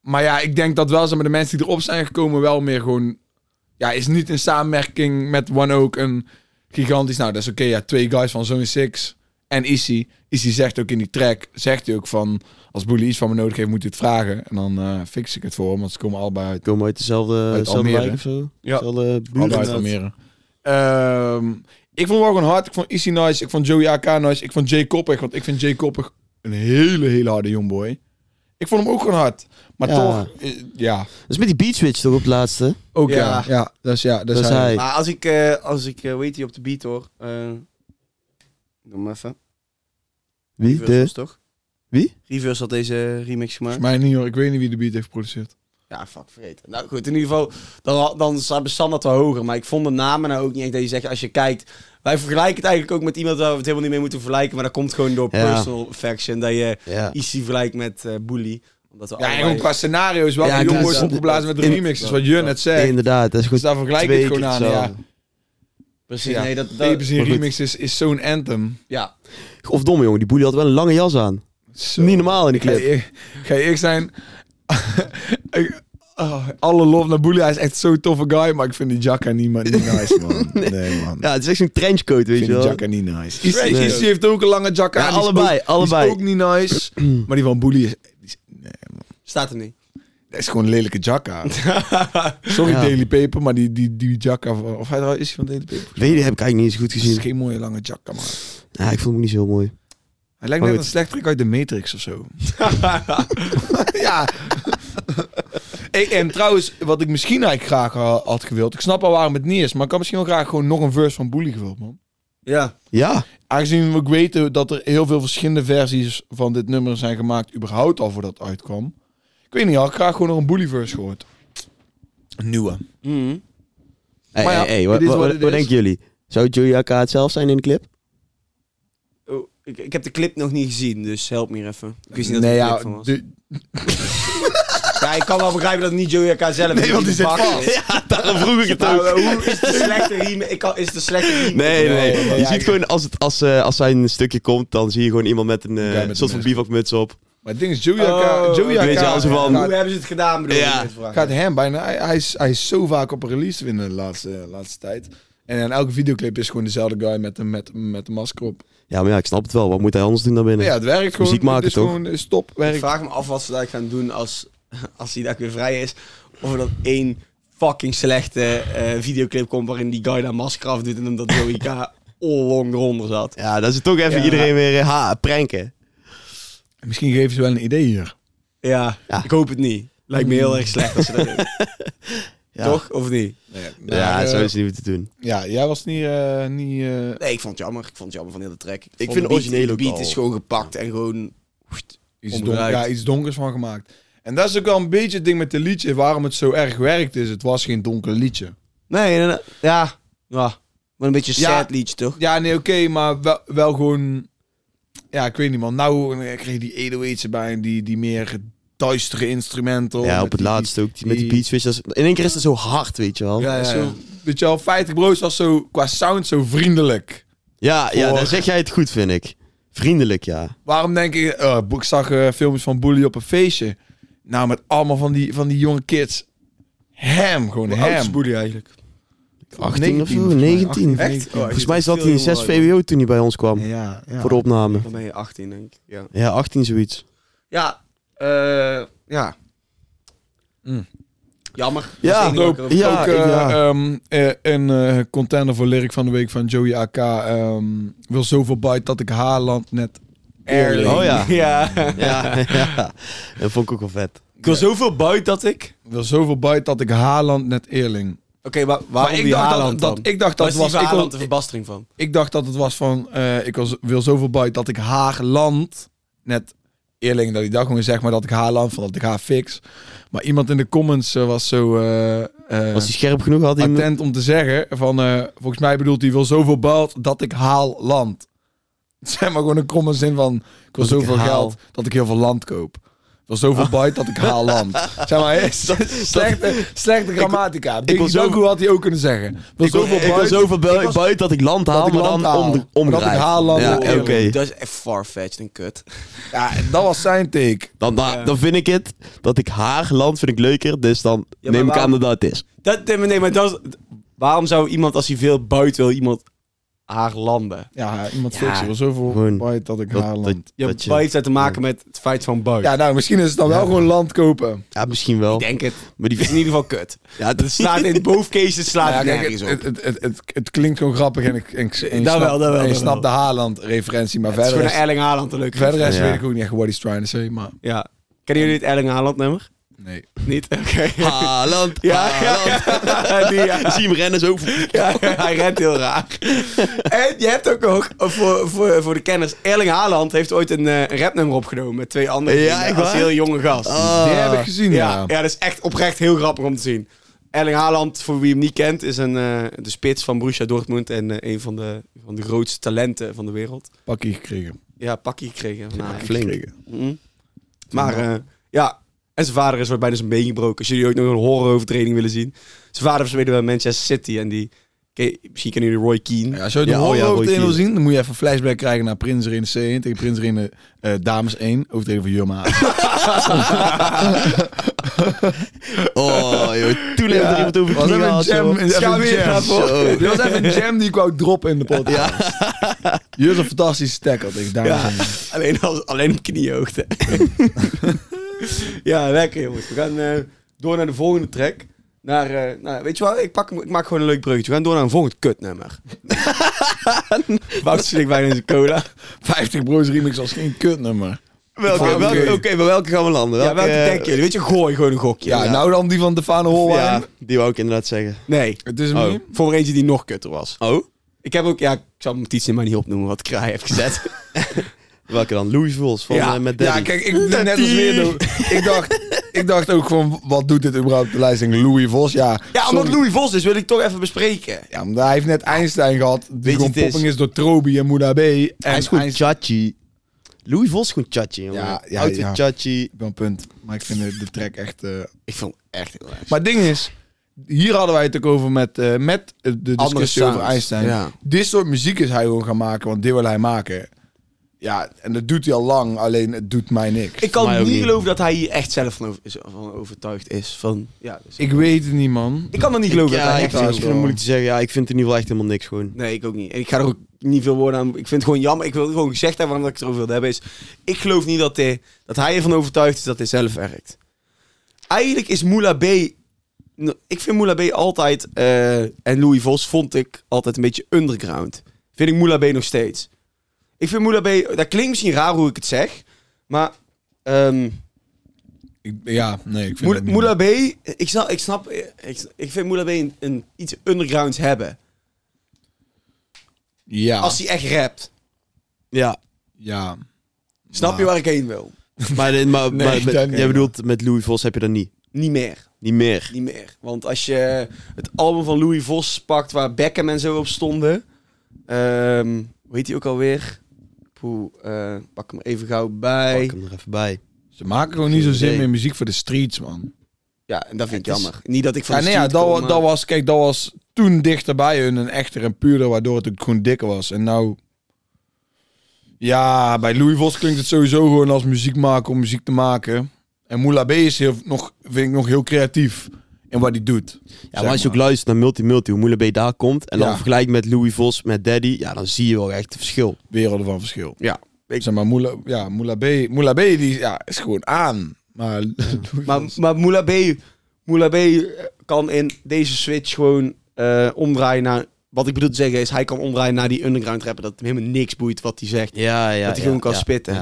S1: maar ja, ik denk dat wel zeg maar, de mensen die erop zijn gekomen wel meer gewoon... Ja, is niet in samenwerking met One Oak een gigantisch... Nou, dat is oké, ja, twee guys van zo'n Six en Issy. Issy zegt ook in die track, zegt hij ook van... Als Boelie iets van me nodig heeft, moet hij het vragen. En dan eh, fix ik het voor hem, want ze komen allebei uit
S3: Komen uit dezelfde, dezelfde
S1: Almere.
S3: wijk of zo.
S2: Ja.
S3: Dezelfde buurt.
S1: Allebei uit Almere. Ehm, ik vond wel gewoon hard. Ik vond Issy nice. Ik vond Joey AK nice. Ik vond Jay Koppig. Want ik vind Jay Koppig een hele, hele harde jongboy. Ik vond hem ook gewoon hard. Maar
S3: Ja.
S1: toch, eh, ja.
S3: Dat is met die Beach Witch toch op het laatste?
S1: Ook
S2: ja.
S1: ja. Ja, dat is, ja, dat is hij.
S2: Maar als ik, eh, als ik eh, weet je op de beat hoor. eh, doe maar even.
S3: Wie?
S2: Reverse
S3: De?
S2: was toch?
S3: Wie?
S2: Reverse had deze remix gemaakt.
S1: Volgens mij niet hoor. Ik weet niet wie de beat heeft
S3: Oh,
S1: geproduceerd.
S2: Ja, fuck, vergeten. Nou goed, in ieder geval, dan, dan staat de standaard wel hoger. Maar ik vond de namen nou ook niet echt dat je zegt, als je kijkt... Wij vergelijken het eigenlijk ook met iemand waar we het helemaal niet mee moeten vergelijken. Maar dat komt gewoon door
S3: Ja.
S2: personal affection. Dat je
S3: Ja.
S2: Easy vergelijkt met eh Bully. Omdat we
S1: Ja, en
S2: allebei-
S1: ook qua scenario's wel.
S3: Ja,
S1: Ja,
S3: dat
S1: jongboys
S3: is-
S1: opgeblazen met de
S3: in-
S1: remix. is wat je net zei.
S3: Inderdaad, dat is
S1: Dus
S3: goed.
S1: daar vergelijk ik
S3: Twee
S1: het gewoon
S3: keer
S1: aan. Ja.
S3: hetzelfde.
S2: Precies,
S1: Ja.
S2: nee, dat... dat
S1: Babies in
S3: Maar goed.
S1: remix is, is zo'n anthem.
S2: ja.
S3: Of domme jongen, die boelie had wel een lange jas aan.
S1: Zo.
S3: Niet normaal in die
S1: Ga
S3: clip.
S1: je, ga je eerlijk zijn? Ik- oh, alle lof naar Boelie. Hij is echt zo'n toffe guy. Maar ik vind die Jacka niet, maar, niet nice, man. Nee, man.
S3: Ja, het is echt zo'n trenchcoat,
S1: ik
S3: weet
S1: vind
S3: je
S1: die
S3: wel.
S1: Jacka niet nice. Issy,
S3: Nee.
S1: Issy heeft ook een lange Jacka.
S3: Ja,
S1: aan, die is
S3: allebei,
S1: ook-
S3: allebei.
S1: Die is ook niet nice. maar die van Boelie is... die is- nee, man.
S2: Staat er niet.
S1: Dat is gewoon een lelijke Jacka. Sorry
S3: Ja.
S1: Daily Paper, maar die, die, die Jacka... van- Of hij is hij van Daily Paper?
S3: Weet je, heb ik eigenlijk niet eens goed
S1: Het is
S3: gezien.
S1: geen mooie lange Jacka, man.
S3: Ja, ik vond hem ook niet zo heel mooi.
S1: Hij lijkt
S3: Maar
S1: net
S3: goed.
S1: een slecht trick uit de Matrix of zo. ja. Hey, en trouwens, wat ik misschien eigenlijk graag ha- had gewild. Ik snap al waarom het niet is, maar ik had misschien wel graag gewoon nog een verse van Boelie gewild, man.
S2: Ja.
S3: Ja,
S1: Aangezien we ook weten dat er heel veel verschillende versies van dit nummer zijn gemaakt, überhaupt al voordat het uitkwam. Ik weet niet, had ik graag gewoon nog een Boelie verse gehoord. Een nieuwe.
S3: Mhm. Hey,
S1: Maar ja,
S3: hey, hey,
S1: it
S3: wat,
S1: is
S3: wat-
S1: what
S3: wat-
S1: it
S3: wat
S1: is.
S3: denken jullie? Zou Joey AK het zelf zijn in de clip?
S2: Oh, ik, ik heb de clip nog niet gezien, dus help me hier even. Ik wist niet dat
S1: nee,
S2: er een
S1: ja,
S2: clip van was.
S1: de-
S2: Ja, ik kan wel begrijpen dat het niet Joey AK zelf
S1: Nee, want die zit
S2: pakken
S1: vast.
S2: is.
S3: Ja, daarom vroeg ik
S2: Maar, eh, hoe is de slechte riem? Ik kan, is de slechte riem?
S3: Nou, Nee, nee,
S1: Nee,
S3: Je
S1: nee,
S3: ziet
S1: ja, ik-
S3: gewoon, als, het, als, eh, als zijn een stukje komt, dan zie je gewoon iemand met een eh,
S1: Ja, met
S3: soort
S1: een
S3: van bivakmuts op.
S1: maar het ding is, Joey
S2: Oh,
S1: AK Joey
S3: weet
S1: AK
S3: je, als we van-
S2: Hoe hebben ze het gedaan, bedoel
S3: Ja.
S2: ik? met vragen.
S1: gaat hem bijna. Hij, hij, is, hij is zo vaak op een release winnen de laatste, eh, laatste tijd. En in elke videoclip is gewoon dezelfde guy met de, met, met de masker op.
S3: Ja, maar ja, ik snap het wel. Wat moet hij anders doen dan binnen?
S1: Ja, het werkt gewoon.
S3: Muziek maken,
S1: het is
S3: toch?
S1: gewoon eh, stop,
S2: Ik
S1: werkt.
S2: vraag me af wat ze daar gaan doen als, als die daar weer vrij is. Of er dan één fucking slechte eh, videoclip komt waarin die guy daar masker af doet en hem dat Joey K all along eronder zat.
S3: Ja, dat is het toch even iedereen weer eh, ha, pranken.
S1: Misschien geven ze wel een idee hier.
S2: Ja,
S3: Ja.
S2: ik hoop het niet. Lijkt me heel erg slecht als ze dat doen.
S3: Ja.
S2: Toch? Of niet?
S1: Ja,
S3: Ja, zo is het niet meer te doen.
S1: eh, ja jij was niet... eh, niet eh,
S2: Nee, ik vond het jammer. Ik vond het jammer van heel de track. Ik,
S3: vind het origineel
S2: De
S3: ook
S2: beat
S3: al.
S2: is gewoon gepakt en gewoon...
S1: iets,
S2: Omdraaid.
S1: donker- ja, iets donkers van gemaakt. En dat is ook wel een beetje het ding met het liedje. Waarom het zo erg werkt is, het was geen donker liedje.
S2: Nee, nee, nee.
S3: eh,
S2: ja. ja. Maar een beetje
S1: Ja.
S2: sad liedje, toch?
S1: Ja, nee, oké, maar wel, wel gewoon... Ja, ik weet niet, man. Nou eh, kreeg die 808's erbij en die, die meer duistere instrumenten.
S3: Ja,
S1: met
S3: op het
S1: die-
S3: laatste ook. Die, met die
S1: die-
S3: beats, weet je, dat is- in één keer is het zo hard, weet je wel. Ja,
S1: Ja, ja,
S2: Zo.
S1: ja. Weet je wel, 50 Bros was zo, qua sound zo vriendelijk.
S3: ja,
S1: Voor-
S3: daar zeg jij het goed, vind ik. Vriendelijk, ja.
S1: Waarom denk ik... eh, ik zag eh, filmpjes van Bully op een feestje. Nou, met allemaal van die, van die jonge kids. Hem, gewoon hem.
S2: Spoedy eigenlijk.
S3: 18 of zo,
S1: volgens mij.
S3: 19.
S1: 18,
S2: Echt?
S1: 19.
S2: Oh,
S3: Volgens mij zat hij in
S2: Veel
S3: 6
S2: jonger,
S3: VWO toen hij bij ons kwam.
S1: Ja, ja.
S3: Voor de opname.
S2: Dan ben je 18, denk ik. Ja.
S3: Ja, 18 zoiets.
S2: Ja, eh, ja.
S1: Mm.
S2: Jammer. Dat
S3: Ja,
S2: is het enige wat ik
S1: ook,
S2: erover-
S3: Ja,
S1: ook, eh,
S3: ja.
S1: ehm, eh, een eh, contender voor lyric van de week van Joey AK. ehm, wil zoveel bite dat ik Haaland net... Eerlijk.
S3: Oh ja.
S2: ja.
S3: Ja, ja. Dat vond ik ook wel vet.
S2: Ik wil zoveel buiten dat ik...
S1: Wil zoveel bite dat ik Haaland net eerling.
S2: Oké, maar waarom
S1: ik
S2: die
S1: dacht dat-
S2: Haaland
S1: dat-
S2: dan?
S1: ik dacht dat
S2: Waar is die
S1: was-
S2: van
S1: ik wil-
S2: Haaland de verbastering van?
S1: Ik dacht dat het was van... eh, ik was, wil zoveel bite dat ik Haagland net Eerling dat ik dacht gewoon zeg maar dat ik Haaland van dat ik haar fix. Maar iemand in de comments eh, was zo eh, eh,
S3: Was hij scherp genoeg? Had hij hem-
S1: attent om te zeggen van eh, volgens mij bedoelt hij wil zoveel geld dat ik haal land. Zeg maar gewoon een kromme zin van ik wil
S3: Dat ik
S1: zoveel
S3: haal.
S1: geld dat ik heel veel land koop. Ik wil zoveel byte dat ik haal land. Zeg maar, hè, slechte, slechte grammatica. Ik wil
S3: zoveel-
S1: zoveel had hij ook kunnen zeggen. Ik wil
S3: Ik wil,
S1: zoveel
S3: ik wil
S1: byte.
S3: zoveel
S1: Ik was-
S3: buiten dat ik land haal,
S1: ik
S3: maar
S1: land
S3: dan
S1: haal.
S3: om,
S1: Dat ik
S3: omdraaien.
S1: haal land
S3: Ja,
S1: wil
S3: oké.
S1: eerlijk.
S2: Dat is echt farfetched en kut.
S1: Ja, dat was zijn take.
S3: Dan, dan, dan vind ik het dat ik haar land vind ik leuker, dus dan
S2: maar
S3: neem ik
S2: waarom-
S3: aan dat dat het is.
S2: Dat, nee, maar dat is- waarom zou iemand als hij veel buiten wil, iemand haar landen?
S1: Ja, iemand
S3: Ja,
S1: fixen. Ik wil zoveel
S3: gewoon
S1: byte dat ik
S3: Dat-
S1: haal
S3: dat-
S1: land.
S2: Je
S3: Dat je-
S2: buiten te maken met het feit van buiten.
S1: Ja, nou, misschien is het dan wel gewoon land kopen.
S3: Ja, misschien wel.
S2: Ik denk het.
S3: Maar die
S2: Het is in ieder geval kut.
S3: ja, dat
S2: Het slaat in both cases slaat
S1: Nou ja, kijk,
S2: het nergens
S1: het,
S2: op.
S1: het, het, het, het, het klinkt gewoon grappig en ik, en ik, en ik
S2: Dat
S1: snap,
S2: wel, dat wel,
S1: en ik
S2: dat
S1: snap
S2: wel.
S1: de Haaland-referentie, maar
S2: Het is
S1: verder
S2: gewoon
S1: is,
S2: een Erling Haaland een leuke
S1: verder is
S3: Ja.
S1: weet ik ook niet echt what he's trying to say, maar
S2: Ja. Kennen jullie het Erling Haaland nummer?
S1: nee.
S2: Niet? Oké.
S3: Haaland,
S2: Ja, ja,
S3: Haaland.
S2: ja. Die, ja.
S3: Zie je hem rennen zo.
S2: Ja, hij rent heel raar. En je hebt ook nog, voor, voor, voor de kenners, Erling Haaland heeft ooit een eh, rapnummer opgenomen met twee andere
S3: Ja,
S2: vrienden
S3: echt
S2: als
S3: waar? Oh.
S2: heel jonge gast.
S1: Die heb ik gezien, ja.
S2: ja, ja, dat is echt oprecht heel grappig om te zien. Erling Haaland, voor wie hem niet kent, is een, eh, de spits van Borussia Dortmund en eh, een van de, van de grootste talenten van de wereld.
S1: Pakkie gekregen.
S2: Ja, pakje gekregen. van Ajax.
S3: Ah, Flink.
S1: Gekregen.
S2: Mhm. Maar eh, ja, en zijn vader is wat bijna zijn been gebroken. Als jullie ooit nog een horrorovertreding willen zien. Zijn vader speelde bij Manchester City en die... Ken- Misschien kennen jullie Roy Keane.
S1: Ja, als je het
S3: Ja, oh ja,
S1: horror
S3: Roy
S1: overtreding wil
S3: Keane.
S1: zien, dan moet je even een flashback krijgen naar Prins Rene C1 tegen Prins Rene eh Dames 1, overtreding van Jurma.
S3: Oh, joh. Toen heeft er iemand over
S1: was
S3: knie
S1: even een jam. even
S3: gehad, joh.
S2: Schaam
S1: een
S2: je
S1: jam.
S2: daarvoor?
S1: Zo. Dit was even een jam die ik wou droppen in de podcast.
S3: Ja.
S1: Hier is een fantastische tackle tegen Dames
S2: Ja,
S1: 1.
S2: alleen, als, alleen op kniehoogte. ja, lekker jongens. We gaan eh, door naar de volgende track. Naar, eh, nou, weet je wel, ik, pak, hem- ik maak gewoon een leuk bruggetje. We gaan door naar een volgend kutnummer. Wout slikt bijna in zijn cola.
S1: 50 Bros Remix was geen kutnummer.
S3: Welke,
S2: Oké.
S3: welke, oké, maar welke gaan we landen?
S2: Ja, welke
S3: eh,
S2: denken jullie? Weet je, gooi gewoon een gokje.
S1: Ja, nou dan die van Defano Holwijn.
S3: Ja, die wou ik inderdaad zeggen.
S2: Nee,
S1: Het is hem
S3: Oh.
S1: niet.
S2: voor eentje die nog kutter was.
S3: Oh?
S2: Ik heb ook, ja, ik zal mijn notitie maar niet opnoemen wat Kraai heeft gezet.
S3: Welke dan? Louis Vuls van
S2: Ja,
S3: eh, met Daddy.
S1: Ja, kijk, ik net als
S3: die-
S1: Leerdo. Ik dacht, ik dacht ook gewoon, wat doet dit überhaupt op de lijst? Ik denk, Louis Vos, ja.
S2: ja,
S1: sorry.
S2: omdat Louis Vos is, wil ik toch even bespreken.
S1: Ja, maar hij heeft net Einstein gehad.
S3: je,
S1: Die gewoon
S3: het is-
S1: popping is door Trobi en Moeda B. En
S3: Hij is gewoon
S1: Einstein-
S3: chachi. Louis Vuls is gewoon chachi, jongen.
S1: Ja, ja,
S3: Auto
S1: ja.
S3: chachi.
S1: Ik ben een punt. Maar ik vind de, de track echt... eh,
S2: Ik vond het echt heel erg.
S1: Maar het ding is, hier hadden wij het ook over met, eh, met eh, de
S2: Andere
S1: discussie over
S2: sounds,
S1: Einstein.
S2: ja.
S1: Dit soort muziek is hij gewoon gaan maken, want dit wil hij maken. Ja, en dat doet hij al lang, alleen het doet mij niks.
S2: Ik
S3: mij
S2: kan
S3: ook
S2: niet
S3: niet.
S2: geloven dat hij hier echt zelf van, over- is- van overtuigd is. Van, ja, dus- ik,
S1: Ik weet het niet, man.
S2: kan dat niet geloven. dat
S3: Ja,
S2: hij
S3: ik
S2: echt
S3: vind
S1: ook
S3: ik
S2: zo-
S3: vind
S1: wel.
S3: het moeilijk te zeggen. Ja, ik vind het in ieder geval echt helemaal niks gewoon.
S2: Nee, ik ook niet. En ik ga er ook niet veel woorden aan. Ik vind het gewoon jammer. Ik wil het gewoon gezegd hebben waarom ik het erover wilde hebben. Is, ik geloof niet dat, hij dat hij ervan overtuigd is dat hij zelf werkt. Eigenlijk is Moula B. no- Ik vind Moula B altijd. eh, en Louis Vos vond ik altijd een beetje underground. Vind ik Moula B nog steeds. Ik vind Moula B. Dat klinkt misschien raar hoe ik het zeg. Maar. ehm,
S1: Ik- ja, nee, ik vind
S2: Moula
S1: het niet.
S2: Moula B, ik snap, ik, snap, ik, ik vind Moula B een, een iets undergrounds hebben.
S1: Ja,
S2: Als hij echt rapt.
S3: Ja,
S1: ja.
S2: Snap je
S1: Maar-
S2: waar ik heen wil?
S3: maar, maar, maar,
S1: Nee,
S3: maar-
S1: dat
S3: jij
S1: niet.
S3: bedoelt met Louis Vos heb je dat niet.
S2: Niet meer.
S3: Niet meer.
S2: Niet meer. Want als je het album van Louis Vos pakt, waar Beckham en zo op stonden. ehm, hoe heet die ook alweer? Poeh, eh, pak hem even gauw bij.
S3: Pak hem er even bij.
S1: Ze maken gewoon niet zozeer
S3: idee.
S1: meer muziek voor de streets, man.
S2: Ja, en dat vind ik
S1: Het is-
S2: jammer. Niet dat ik van
S1: Ja,
S2: de
S1: nee, ja,
S2: street
S1: dat,
S2: kom,
S1: wa-
S2: maar-
S3: eh,
S1: dat was, kijk, dat was toen dichter bij hun en echter en puurder, waardoor het ook gewoon dikker was. En nou, ja, bij Louis Vos klinkt het sowieso gewoon als muziek maken om muziek te maken. En Moula B is heel, nog, vind ik nog heel creatief in wat hij doet.
S3: Ja, maar als je ook luistert naar Multi Multi, hoe Moulin B daar komt... en
S1: Ja.
S3: dan vergelijkt met Louis Vos, met Daddy... ja, dan zie je wel echt het verschil.
S1: werelden van verschil.
S2: Ja, ik-
S1: Zeg maar, Moula, ja, Moula B, Moula B die, ja, is gewoon aan. Maar,
S2: Maar, maar Moula B, Moula B eh, kan in deze switch gewoon eh, omdraaien naar... Wat ik bedoel te zeggen is, hij kan omdraaien naar die underground rapper. Dat hem helemaal niks boeit wat hij zegt.
S3: Ja, ja,
S2: dat hij gewoon kan spitten.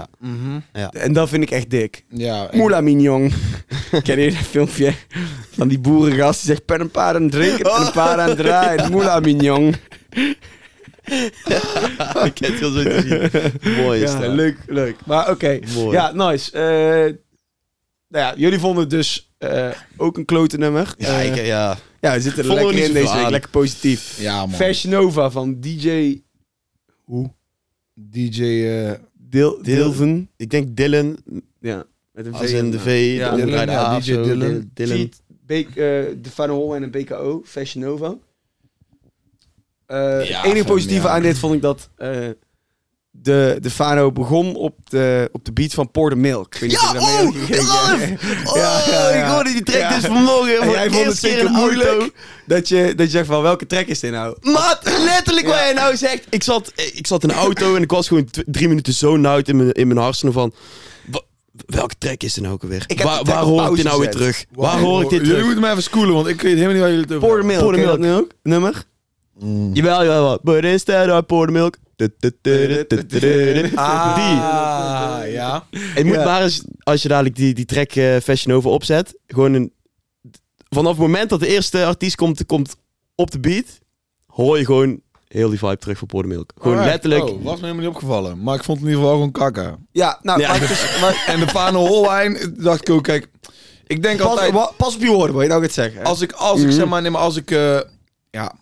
S3: ja.
S2: En dat vind ik echt dik.
S1: ja, ik-
S2: Moula Mignon. Ken je dat filmpje van die boerengast die zegt... Pen een paar aan het drinken, pen een paar aan het draaien. Moula Mignon.
S3: ik heb het heel zo te zien. Mooi is
S2: Ja,
S3: dat.
S2: leuk, leuk. Maar oké.
S3: Mooi.
S2: Ja, nice. Eh, nou ja, jullie vonden het dus eh, ook een klote nummer.
S3: Ja,
S2: Eh,
S3: ik, ja.
S2: ja, we zitten er
S3: vonden we
S2: lekker
S3: niet
S2: in deze
S3: zoveel
S2: week.
S3: aan.
S2: Lekker positief.
S1: Ja, man.
S2: Fashion Nova van DJ
S1: DJ... eh,
S2: Dil Dilven.
S3: ik denk Dylan,
S2: Ja, met een
S3: als
S2: V eh,
S3: in
S2: en
S3: de V,
S2: Ja,
S3: de omgedraaide
S1: Dylan, ja,
S3: A of
S1: DJ
S3: zo.
S1: Dylan.
S3: Dylan.
S2: Cheat, Beek, eh, de Van Hol en een BKO, Fashion Nova. Eh,
S1: Ja,
S2: het enige
S1: van,
S2: positieve
S1: ja.
S2: aan dit vond ik dat eh, de, de Fano begon op de, op de beat van Pour the Milk. Ik weet niet of
S3: Ja,
S2: je daarmee
S3: oh,
S2: hebt gekeken.
S3: Ralf! Oh,
S2: Ja, ja, ja.
S3: ik hoorde die track
S2: Ja.
S3: dus vanmorgen.
S2: En
S3: voor
S2: jij
S3: de
S2: vond het
S3: eerste keer
S2: zeker
S3: in de auto.
S2: moeilijk dat je, dat je zegt van welke track is dit nou? Oh,
S3: Maat, letterlijk wat jij nou zegt. Ik zat, ik zat in de auto en ik was gewoon tw- drie minuten zo nauwd in mijn, in mijn hersenen van... wa- Welke track is er nou ook alweer?
S2: Ik heb
S3: Waar,
S2: de track
S3: waar
S2: op
S3: hoor ik
S2: pauze
S3: dit nou weer
S2: gezet.
S3: terug? Waar hoor ik dit
S1: Jullie
S3: terug?
S1: moeten mij even schoolen, want ik weet helemaal niet waar jullie het over
S2: Pour the Milk.
S3: Pour the
S2: ken je dat
S3: Milk.
S2: nu ook? nummer?
S3: Jawel, jawel, jawel. But instead I pour the milk. Du- du- du- du- du- du- du- du- Die.
S1: Ah, ja.
S3: Het moet
S2: Ja.
S3: maar eens, als je dadelijk die, die track eh, Fashion Nova opzet, gewoon een... Vanaf het moment dat de eerste artiest komt, komt op de beat, hoor je gewoon heel die vibe terug van Pour the Milk. Gewoon
S1: Alright.
S3: letterlijk...
S1: Oh, was me helemaal niet opgevallen. Maar ik vond het in ieder geval gewoon kakken.
S2: Ja, nou,
S3: Ja.
S2: maar het is- maar-
S1: En de Pano Holwijn dacht ik ook, kijk... Ik denk
S2: pas,
S1: altijd...
S2: wa- pas op je woorden, wil je nou gaat zeggen.
S1: Als ik, als
S3: Mhm.
S1: ik zeg maar, nee, maar als ik, eh, ja,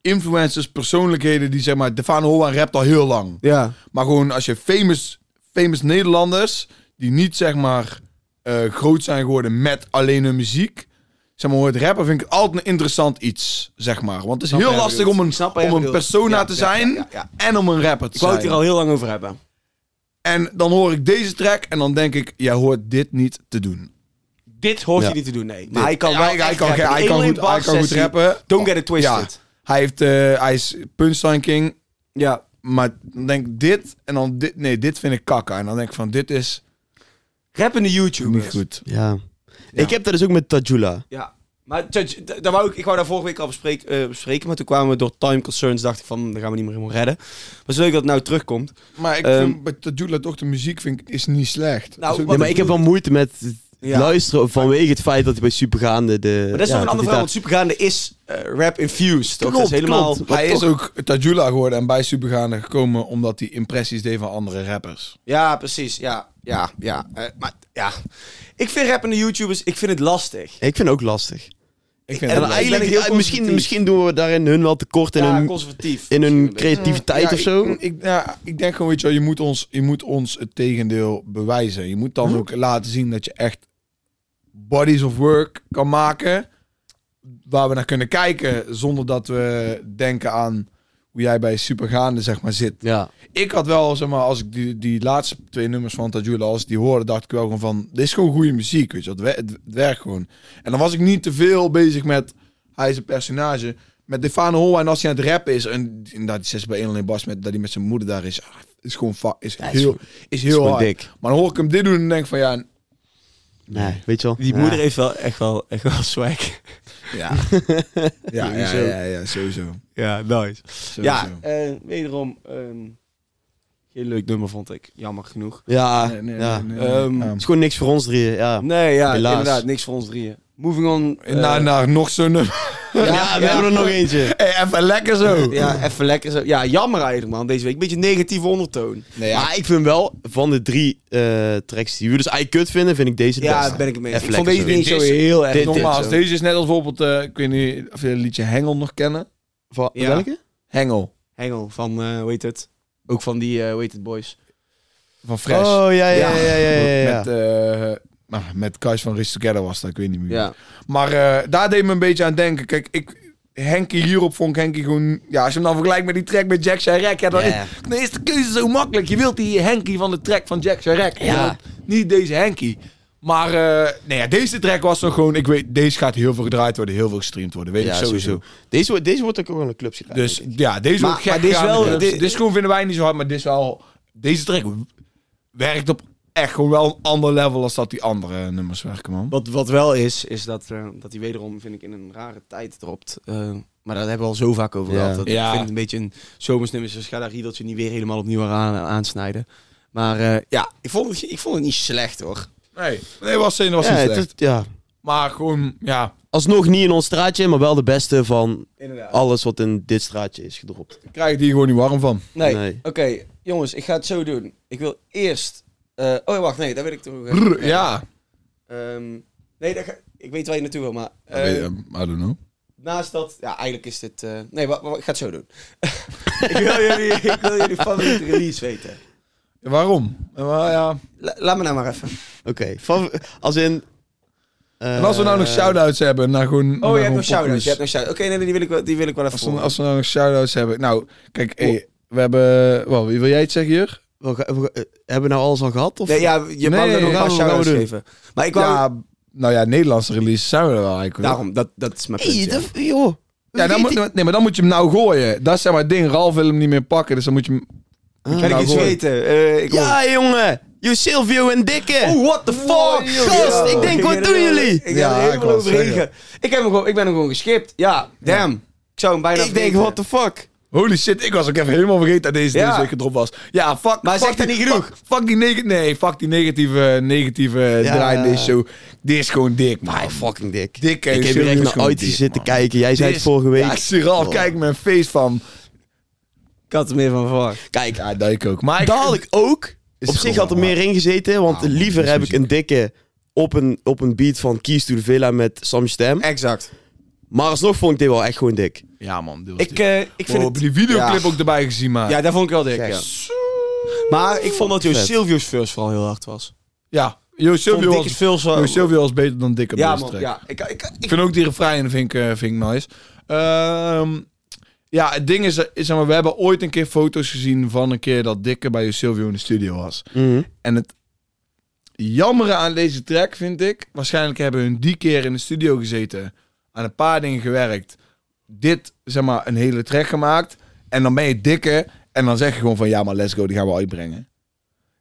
S1: influencers, persoonlijkheden die zeg maar, Defano Holland rapt al heel lang.
S2: ja.
S1: Maar gewoon als je famous, famous Nederlanders, die niet zeg maar eh, groot zijn geworden met alleen hun muziek, zeg maar, hoort rappen, vind ik het altijd een interessant iets, zeg maar. Want het is
S2: Snap
S1: heel
S2: wat je
S1: lastig
S2: bedoelt.
S1: om een,
S2: Snap wat je
S1: om een
S2: bedoelt.
S1: persona
S2: Ja,
S1: te
S2: ja,
S1: zijn
S2: ja, ja,
S1: en om een rapper te
S2: Ik wou het
S1: zijn.
S2: hier al heel lang over hebben.
S1: En dan hoor ik deze track en dan denk ik, jij hoort dit niet te doen.
S2: Dit hoort
S3: Ja.
S2: je niet te doen, nee. Maar hij kan
S1: Ja,
S2: wel
S1: hij- hij
S2: echt
S1: kan-
S2: rappen.
S1: hij
S2: Die
S1: kan
S2: Alien
S1: goed- hij kan
S2: Bar
S1: goed
S2: sessie,
S1: rappen.
S2: Don't get it twisted.
S1: Hij, heeft, eh, hij is Punchline King,
S2: Ja.
S1: Maar dan denk ik dit en dan dit. Nee, dit vind ik kakker. En dan denk ik van dit is
S2: Rappende YouTubers.
S1: niet goed.
S3: Ja. Ik heb dat dus ook met Tajula.
S2: Ja. Maar Judge, d- daar wou ik, ik wou daar vorige week al bespreken, bespreken, maar toen kwamen we door time concerns, dacht ik van, daar gaan we niet meer helemaal redden. Maar zo leuk dat het nou terugkomt.
S1: Maar ik
S2: Ehm,
S1: vind bij Tadula toch de muziek vind ik, is niet slecht.
S2: Nou,
S1: Is ook
S2: wat
S3: Ja, maar
S1: niet
S3: ik heb wel moeite met het
S2: Ja.
S3: luisteren vanwege het feit dat hij bij Supergaande de...
S2: Maar dat is
S3: ja,
S2: nog een ander
S3: hij
S2: verhaal, want Supergaande is eh, rap infused. Toch? dat is helemaal...
S3: klopt.
S1: goed. Hij
S3: maar
S1: is ook Tadula geworden en bij Supergaande gekomen omdat hij impressies deed van andere rappers.
S2: Ja, precies. Ja, ja, ja. Eh, maar ja, ik vind rappende YouTubers, ik vind het lastig.
S3: Ik vind het ook lastig.
S1: Ik vind
S2: En
S1: dat
S3: En
S2: ben
S3: eigenlijk,
S2: ik heel
S3: ja, misschien,
S2: conservatief.
S3: misschien doen we daarin hun wel tekort in
S2: ja,
S3: hun,
S2: conservatief.
S3: in
S2: misschien
S3: hun
S2: een beetje.
S3: creativiteit
S1: Ja,
S3: of zo.
S1: Ik, ik, ja, ik denk gewoon, weet je wel, je moet, ons, je moet ons het tegendeel bewijzen. Je moet dan ook laten zien dat je echt bodies of work kan maken. Waar we naar kunnen kijken zonder dat we denken aan hoe jij bij Supergaande zeg maar, zit.
S3: ja.
S1: Ik had wel, zeg maar, als ik die, die laatste twee nummers van Tajula, als ik die hoorde, dacht ik wel gewoon van, dit is gewoon goede muziek, weet je, dat het, wer- het werkt gewoon. En dan was ik niet te veel bezig met, hij is een personage, met Defano Holwijn als hij aan het rappen is, en inderdaad, die 6 bij 1 alleen Bas, met, dat hij met zijn moeder daar is, ah, is gewoon, fa- is,
S3: is
S1: heel,
S3: gewoon-
S1: is, heel
S3: gewoon
S1: hard.
S3: dik.
S1: Maar dan hoor ik hem dit doen en denk van, ja,
S3: Nee, weet je wel.
S2: Die
S3: Ja.
S2: moeder heeft wel echt wel, echt wel swag.
S1: ja, ja, ja, ja, ja, ja, sowieso.
S2: Ja, nice.
S1: sowieso.
S2: Ja, eh, wederom, ehm, geen leuk nummer vond ik, jammer genoeg.
S3: Ja,
S1: Nee, nee,
S3: ja.
S1: nee, nee,
S2: Ehm,
S1: nee. Ja.
S3: Het is gewoon niks voor ons drieën, ja.
S2: Nee, ja,
S3: Helaas.
S2: inderdaad, niks voor ons drieën. Moving on. eh,
S1: naar, naar nog zo'n nummer.
S3: Ja,
S2: ja,
S3: we hebben er nog eentje.
S1: Hey, even lekker zo.
S2: eh, Ja, even lekker zo. Ja, jammer eigenlijk man, deze week. Beetje negatieve ondertoon.
S1: Nee, ja.
S3: Maar ik vind wel, van de drie eh, tracks die we dus eigenlijk kut vinden, vind ik deze de
S2: Ja,
S3: beste.
S2: ben ik het mee eens.
S3: Even
S2: Ik vond deze
S3: lekker
S2: niet
S1: zo.
S2: zo heel erg
S3: Dit- dit-
S2: normaal.
S1: Nogmaals, deze is net als bijvoorbeeld, eh, ik weet niet of jullie het liedje Hengel nog kennen.
S3: Van,
S2: Ja.
S3: Welke?
S1: Hengel
S2: Hengel van, eh hoe heet het? Ook van die, eh hoe heet het, boys?
S1: van Fresh.
S3: Oh, ja, ja, ja, ja, ja, ja, ja.
S1: Met, eh, nou, met Kais van Rich Together was dat, ik weet niet meer.
S2: Ja.
S1: Maar eh, daar deed me een beetje aan denken. Kijk, ik, Henkie hierop vond ik Henkie gewoon... Ja, als je hem dan vergelijkt met die track met Jack Chirac, ja, dan,
S3: Ja.
S1: is, dan is de keuze zo makkelijk. Je wilt die Henkie van de track van Jack Chirac. Je
S3: Ja.
S1: wilt Niet deze Henkie. Maar eh, nee, ja, deze track was toch gewoon... Ik weet, deze gaat heel veel gedraaid worden, heel veel gestreamd worden. Weet
S3: Ja,
S1: ik sowieso.
S3: Deze, wordt- deze wordt ook wel een clubs gedaan.
S1: Dus ja, deze
S2: Maar-
S1: wordt gek
S2: maar dit is
S1: gedaan
S2: wel-
S1: met clubs.
S2: dit-
S1: Dit is gewoon vinden wij niet zo hard, maar dit is wel... Deze track werkt op echt gewoon wel een ander level als dat die andere nummers werken, man.
S2: Wat, wat wel is, is dat, eh, dat hij wederom, vind ik, in een rare tijd dropt. Eh, maar daar hebben we al zo vaak over
S3: Ja.
S2: gehad. Dat
S1: Ja.
S2: Ik vind het een beetje een zomersnummer. Dus ik ga daar riedeltje niet weer helemaal opnieuw aan, aansnijden. Maar eh, ja, ik vond, het, ik vond het niet slecht hoor.
S1: Nee, nee was, was
S3: ja,
S1: niet
S3: het
S1: slecht.
S3: is- ja.
S1: Maar gewoon, ja,
S3: alsnog niet in ons straatje, maar wel de beste van
S2: Inderdaad.
S3: alles wat in dit straatje is gedropt.
S1: Ik krijg het hier gewoon niet warm van.
S2: Nee.
S3: Nee.
S2: Oké, jongens, ik ga het zo doen. Ik wil eerst. eh, oh, wacht, nee, daar wil ik toch.
S1: Brr, ja.
S2: Ehm, nee, daar ga- ik weet waar je naartoe wil, maar. eh,
S1: I don't know.
S2: naast dat. Ja, eigenlijk is dit. eh, nee, wa- wa- ik ga het zo doen. ik, wil jullie, ik wil jullie favoriete release weten.
S1: Waarom? Eh, maar ja.
S2: La- laat me nou maar even.
S3: Oké, fav- als in... eh,
S1: En als we nou nog shout-outs hebben, nou gewoon... naar
S2: Eh. Oh, je
S1: gewoon
S2: hebt nog shout-outs.
S1: pokoes.
S2: Je hebt nog shout Oké, nee, nee, die wil ik wel, die wil ik wel even.
S1: Als we,
S2: horen.
S1: als we nou nog shout-outs hebben. Nou, kijk,
S2: Oh.
S1: hey, we hebben... Wel, wie wil jij het zeggen, Jur?
S3: we ga- we ga- hebben we nou alles al gehad? Of?
S2: Nee, ja, je mag
S1: Nee,
S2: er
S1: gaan
S2: nog een paar
S1: we- gaan we
S2: shout-outs
S1: doen.
S2: geven. Maar ik wou...
S1: Ja, nou ja, Nederlandse releases zijn we er wel eigenlijk. hoor.
S2: daarom, dat, dat is mijn punt.
S3: Hey,
S2: ja.
S3: dat- joh.
S1: Ja, dan moet, nee, maar dan moet je hem nou gooien. Dat is zeg maar het ding. Ralf wil hem niet meer pakken, dus dan moet je hem...
S3: Ah.
S2: Kan ik
S1: Nou,
S2: iets
S1: gooi.
S2: weten? Eh, ik hoor-
S3: Ja, jongen. You Silvio en Dikke.
S2: Oh, what the fuck?
S3: joh. Gast, ik denk, wat
S2: er
S3: doen
S2: helemaal-
S3: jullie?
S2: Ik
S1: Ja,
S2: ja, er
S1: ik
S2: helemaal
S1: wou het
S2: overheen. Ik, heb hem gewoon, ik ben hem gewoon geschipt. Ja, damn. Ik zou hem bijna
S3: ik denk, what the fuck?
S1: Holy shit, ik was ook even helemaal vergeten dat deze
S2: Ja.
S1: deze week gedropt was. Ja, fuck.
S2: Maar
S1: fuck
S2: zegt dat
S1: die-
S2: niet genoeg?
S1: Fuck, fuck die negatieve... Nee, fuck die negatieve, negatieve draai in deze show. Dit is gewoon dik, man.
S3: My Ah, fucking dik.
S1: Dikke,
S3: ik heb hier
S1: serieus
S3: echt naar
S1: gewoon
S3: uit
S1: dik,
S3: zitten
S1: man.
S3: kijken. Jij zei
S1: Dit
S3: het
S1: is-
S3: vorige week.
S1: Ja, Siral,
S3: Oh.
S1: kijk mijn feest van.
S2: Ik had er meer van verwacht.
S3: Kijk,
S1: Ja, dat ik ook. Maar ik-
S3: daar had ik ook.
S1: Is
S3: Op
S1: het
S3: zich
S1: gewoon
S3: had er meer in gezeten. Want
S1: Ah, man,
S3: liever
S1: dit is
S3: heb ik een
S1: muziek.
S3: Dikke op een, op een beat van Keys to the Villa met Sam Stem.
S2: Exact.
S3: Maar alsnog vond ik dit wel echt gewoon dik.
S1: Ja, man. dit was
S2: Ik,
S1: dik.
S2: eh, ik
S1: Wow,
S2: vind
S1: heb
S2: het...
S1: je die videoclip
S2: Ja.
S1: ook erbij gezien, maar.
S2: Ja, daar vond ik wel dik, ja. Maar ik vond dat
S3: Vet.
S2: Joost Silvio's first vooral heel hard was.
S1: Ja, Jo Silvio
S2: Vond
S1: was,
S2: Dikke's first wel-
S1: Jo Silvio was beter dan Dick op
S2: Ja,
S1: deze
S2: man.
S1: track.
S2: Ja, ik, ik, ik,
S1: Ik vind ook die refrein vind ik, eh, vind ik nice. Ehm, ja, het ding is, eh, zeg maar, we hebben ooit een keer foto's gezien van een keer dat Dikke bij Jo Silvio in de studio was. En het jammere aan deze track vind ik, waarschijnlijk hebben hun die keer in de studio gezeten, aan een paar dingen gewerkt, dit zeg maar een hele track gemaakt en dan ben je dikke en dan zeg je gewoon van ja maar let's go, die gaan we uitbrengen.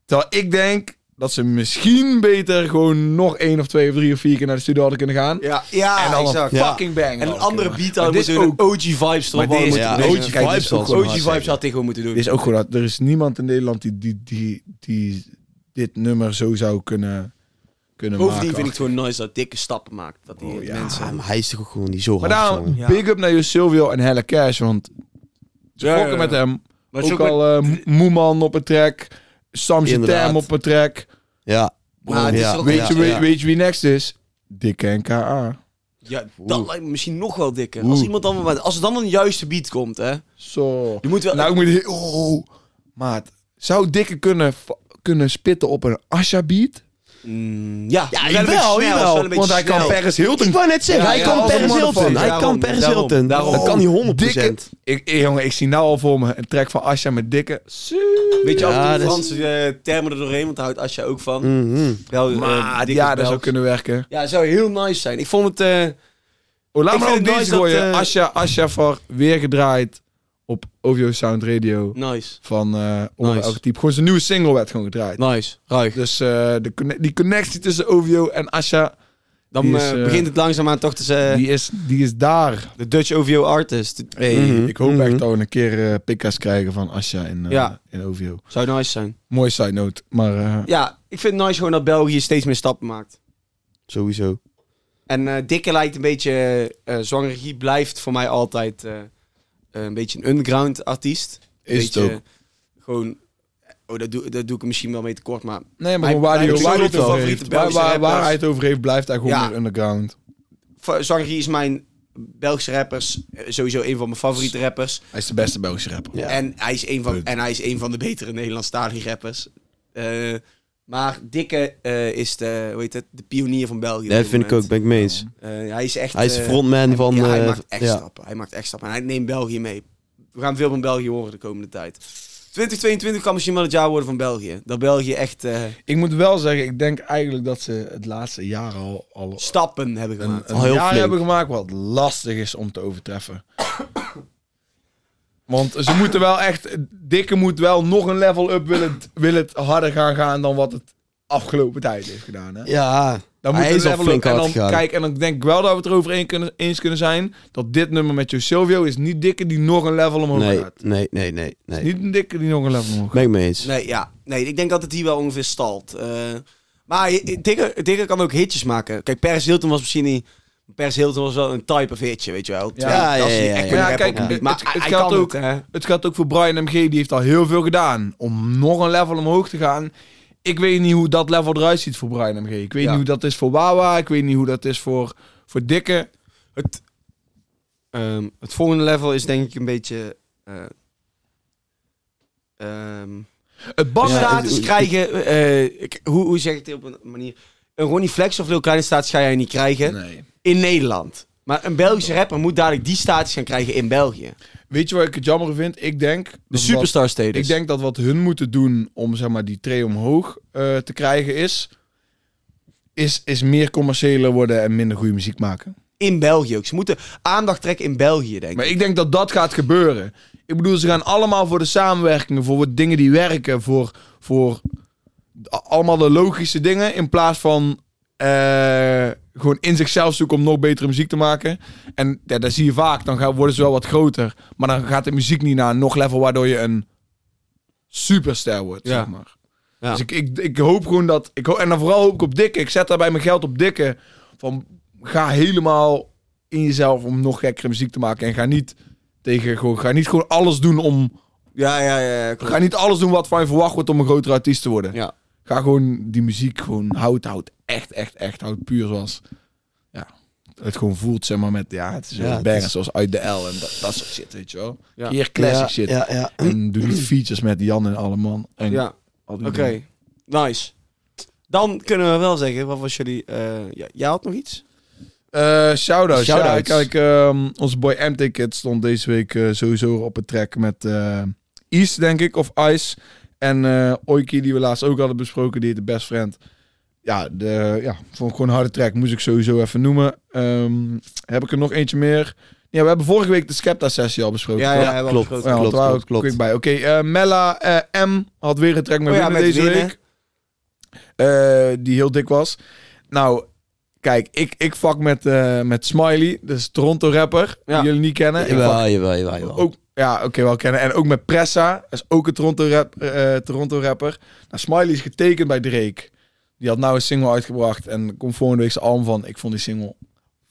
S1: Terwijl ik denk dat ze misschien beter gewoon nog één of twee of drie of vier keer naar de studio hadden kunnen gaan.
S2: ja, ja,
S1: en dan
S2: exact.
S1: een
S2: Ja.
S1: fucking bang.
S2: En een andere beat
S1: Maar
S2: hadden
S1: dit
S2: moeten
S1: is
S2: doen.
S1: ook-
S2: OG vibes erop
S1: Maar dit is-
S2: hadden
S3: Ja,
S2: moeten
S3: OG
S2: doen.
S1: Kijk, dit
S3: vibes
S1: is
S3: zal
S1: ook
S3: gewoon
S1: gewoon
S2: OG
S3: hard
S2: vibes
S3: zijn.
S2: had hij gewoon moeten doen.
S1: Dit is ook gewoon hard. Er is niemand in Nederland die, die, die, die dit nummer zo zou kunnen, kunnen maken.
S2: Bovendien vind ik het gewoon nice dat dikke stappen maakt. Dat die
S1: Oh, ja.
S2: mensen...
S3: Ah, maar hij is toch ook gewoon niet zo
S1: Maar
S3: hard,
S1: daarom,
S3: jongen.
S2: Ja.
S1: big up naar Jo Silvio en Helle Cash, want ze
S2: Ja, ja,
S1: fokken
S2: ja.
S1: met hem.
S2: Maar het
S1: ook,
S2: is ook
S1: al eh, Mo- Moeman op een track, Sam Tem
S3: Inderdaad.
S1: op een track.
S3: Ja.
S2: Maar het is
S3: Ja,
S2: er ook-
S1: Weet,
S3: ja,
S1: je, wie-
S3: ja.
S1: weet je wie next is? Dikke en K.A.
S2: Ja, dat
S3: Oeh.
S2: lijkt me misschien nog wel dikker. Als iemand dan maar, als er dan een juiste beat komt, hè.
S1: Zo.
S2: Je moet wel
S1: Nou, ik moet... heel- Oh, maat. Zou Dikke kunnen, fa- kunnen spitten op een Asha beat?
S2: Mm, ja,
S3: Ja,
S2: wel een
S3: jawel,
S2: beetje snel,
S3: jawel.
S2: wel een beetje
S1: Want hij kan
S2: snel.
S1: Paris Hilton
S3: Ik wou net zeggen,
S1: Ja,
S3: hij
S1: ja,
S3: kan
S1: ja,
S3: Paris
S1: allemaal
S3: Hilton.
S1: ervan.
S3: Hij
S2: Daarom,
S3: kan Paris
S2: daarom,
S3: Hilton.
S2: daarom.
S3: Dat kan hij 100%.
S1: Dikke, ik, eh, jongen, ik zie nou al voor me een track van Asha met dikke. Zo.
S2: Weet je, af en
S3: Ja,
S2: toe
S3: dat is-
S2: Franse eh, termen er doorheen, want daar houdt Asja ook van.
S3: Mhm.
S2: Wel, eh,
S1: Maar
S2: dikke
S1: ja, dat
S2: belt.
S1: zou kunnen werken.
S2: Ja, zou heel nice zijn. Ik vond het... eh,
S1: Oh, laat
S2: Ik
S1: me
S2: vind
S1: ook
S2: het
S1: deze
S2: nice dat,
S1: gooien.
S2: eh,
S1: Asha, Asha voor weer gedraaid op OVO Sound Radio
S2: nice.
S1: van eh onder
S2: Nice.
S1: elke type. Gewoon zijn nieuwe single werd gewoon gedraaid.
S2: Nice. Ruig.
S1: Dus eh, de, conne- die connectie tussen OVO en Asha,
S2: Dan
S1: Die is,
S2: eh,
S1: eh,
S2: begint het eh, langzaamaan toch te zeggen...
S1: die, is, die is daar.
S2: De Dutch OVO artist.
S1: Hey,
S3: Mhm,
S1: Ik hoop
S3: mhm.
S1: echt dat we een keer eh pikka's krijgen van Asha in, eh,
S2: Mm-hmm. Ja.
S1: in OVO.
S2: Zou nice zijn.
S1: Mooi side note, maar eh,
S2: Ja, ik vind het nice gewoon dat België steeds meer stappen maakt.
S3: Sowieso.
S2: En eh, Dikke lijkt een beetje... eh Zwangerie blijft voor mij altijd eh, eh, een beetje een underground artiest.
S1: is het
S2: beetje
S1: ook.
S2: Gewoon... Oh, dat doe, dat doe ik er misschien wel mee tekort, maar...
S1: Nee, maar
S2: Hij-
S1: gewoon waar
S2: hij
S1: hij,
S2: heeft
S1: waar hij
S2: ook
S1: het over
S2: favoriete
S1: heeft. Waar,
S2: Belgische
S1: waar, waar
S2: rappers.
S1: hij het over heeft, blijft hij gewoon
S2: Ja.
S1: meer underground.
S2: Zangerie is mijn Belgische rappers. eh, Sowieso een van mijn favoriete rappers.
S1: Hij is de beste Belgische rapper.
S3: Ja.
S2: En, hij is een van,
S1: Punt.
S2: en hij is een van de betere Nederlandstalige rappers. Eh, maar Dikke eh, is de, hoe heet het, de pionier van België. op
S3: Dat
S2: dit
S3: vind ik ook,
S2: moment.
S3: ben ik mee eens.
S2: Eh, hij is echt...
S3: Hij is
S2: eh,
S3: frontman van...
S2: ja, hij
S3: eh,
S2: maakt echt
S3: ja.
S2: stappen. Hij maakt echt stappen. En hij neemt België mee. We gaan veel van België horen de komende tijd. 2022 kan misschien wel het jaar worden van België. Dat België echt eh,
S1: Ik moet wel zeggen, ik denk eigenlijk dat ze het laatste jaar al, al
S2: stappen hebben
S1: een,
S2: gemaakt.
S1: een
S3: Al heel
S1: jaar
S3: flink.
S1: hebben gemaakt wat lastig is om te overtreffen. Want ze moeten wel echt, Dikke moet wel nog een level up, wil het, wil het harder gaan gaan dan wat het afgelopen tijd heeft gedaan. Hè?
S3: Ja.
S1: Dan
S3: Hij
S1: moet
S3: is
S1: een
S3: al
S1: level
S3: flink
S1: up en
S3: hard
S1: dan
S3: gegaan.
S1: kijk, en dan denk ik wel dat we het erover een kunnen, eens kunnen zijn dat dit nummer met Jo Silvio is niet Dikke die nog een level omhoog
S3: Nee,
S1: gaat.
S3: nee, nee, nee. nee.
S1: Niet een dikke die nog een level omhoog.
S3: Ben ik mee eens.
S2: Nee, ja. Nee, ik denk dat het hier wel ongeveer stalt. Eh, maar Dikker kan ook hitjes maken. Kijk, Paris Hilton was misschien niet... Pers Hilton was wel een type of hitje, weet je wel.
S3: Ja,
S2: dat is
S3: ja,
S2: niet
S3: ja,
S2: echt
S3: ja.
S2: een
S3: Ja,
S2: rap
S1: kijk,
S2: op-
S1: het-
S2: maar
S1: het-
S2: hij
S1: het
S2: kan
S1: geldt ook-
S2: hè.
S1: Het gaat ook voor Brian MG, die heeft al heel veel gedaan om nog een level omhoog te gaan. Ik weet niet hoe dat level eruit ziet voor Brian MG. Ik weet
S2: Ja.
S1: niet hoe dat is voor Wawa, ik weet niet hoe dat is voor, voor Dikke.
S2: Het, ehm, het volgende level is denk ik een beetje... eh, ehm,
S1: Het bange
S3: Ja,
S2: status krijgen... eh, ik- hoe, hoe zeg ik dit op een manier? Een Ronnie Flex of Lil Kleine status ga jij niet krijgen
S1: Nee.
S2: in Nederland. Maar een Belgische rapper moet dadelijk die status gaan krijgen in België.
S1: Weet je waar ik het jammer vind? Ik denk...
S2: De
S1: dat wat-
S2: superstar status.
S1: Ik denk dat wat hun moeten doen om zeg maar, die tray omhoog eh, te krijgen is, is... Is meer commerciëler worden en minder goede muziek maken.
S2: in België ook. Ze moeten aandacht trekken in België, denk ik.
S1: Maar ik denk dat dat gaat gebeuren. Ik bedoel, ze gaan allemaal voor de samenwerkingen, voor wat dingen die werken, voor, voor a- allemaal de logische dingen. In plaats van eh, gewoon in zichzelf zoeken om nog betere muziek te maken. En ja, dat zie je vaak, dan gaan, worden ze wel wat groter. Maar dan gaat de muziek niet naar een nog level waardoor je een superster wordt,
S2: Ja.
S1: zeg maar.
S2: Ja.
S1: Dus ik, ik, ik hoop gewoon dat... Ik ho- en dan vooral hoop ik op dikke. Ik zet daarbij mijn geld op dikke. Van, ga helemaal in jezelf om nog gekkere muziek te maken. En ga niet tegen gewoon, ga niet gewoon alles doen om.
S2: Ja, ja, ja. ja, klopt.
S1: Ga niet alles doen wat van je verwacht wordt om een grotere artiest te worden.
S2: Ja.
S1: Ga gewoon die muziek gewoon houd, houd. Echt, echt, echt houd puur zoals. Ja. Het gewoon voelt, zeg maar, met. Ja, het is
S3: Ja,
S1: een
S3: het
S1: banger
S3: is-
S1: zoals uit de L en dat, dat soort shit, weet je wel.
S2: Ja.
S1: Keer classic
S3: ja,
S1: shit.
S3: Ja, ja.
S1: En doe niet features met Jan en Alleman. En
S2: Ja,
S1: al die
S2: oké.
S1: dingen.
S2: Nice. Dan kunnen we wel zeggen, wat was jullie... eh, ja, jij had nog iets?
S1: Eh shout-outs. Ja,
S3: Shout-outs.
S1: kijk, ehm, onze boy M-Ticket stond deze week eh, sowieso op het track met eh East, denk ik, of Ice. En eh Oiki, die we laatst ook hadden besproken, die heette Best Friend. Ja, de, ja, vond ik gewoon een harde track. Moest ik sowieso even noemen. Ehm, heb ik er nog eentje meer? Ja, we hebben vorige week de Skepta-sessie al besproken. toch?
S2: we
S3: klopt.
S2: hebben
S1: Ja, want
S2: afgesproken.
S3: klopt,
S1: we waren
S3: klopt, klopt.
S1: quick bij. Oké, eh, Mella eh, M had weer een track met
S2: Oh ja,
S1: Winnen
S2: met
S1: deze
S2: Winnen.
S1: week. Eh, die heel dik was. Nou, kijk, ik, ik fuck met, eh, met Smiley, dus Toronto rapper,
S2: Ja.
S1: die jullie niet kennen. Ik
S3: Jawel, jawel, jawel,
S1: fuck
S3: jawel.
S1: ook, ja, oké, wel kennen. En ook met Pressa, dat is ook een Toronto, rap, eh, Toronto rapper. Nou, Smiley is getekend bij Drake. Die had nou een single uitgebracht en er komt volgende week zijn album van. Ik vond die single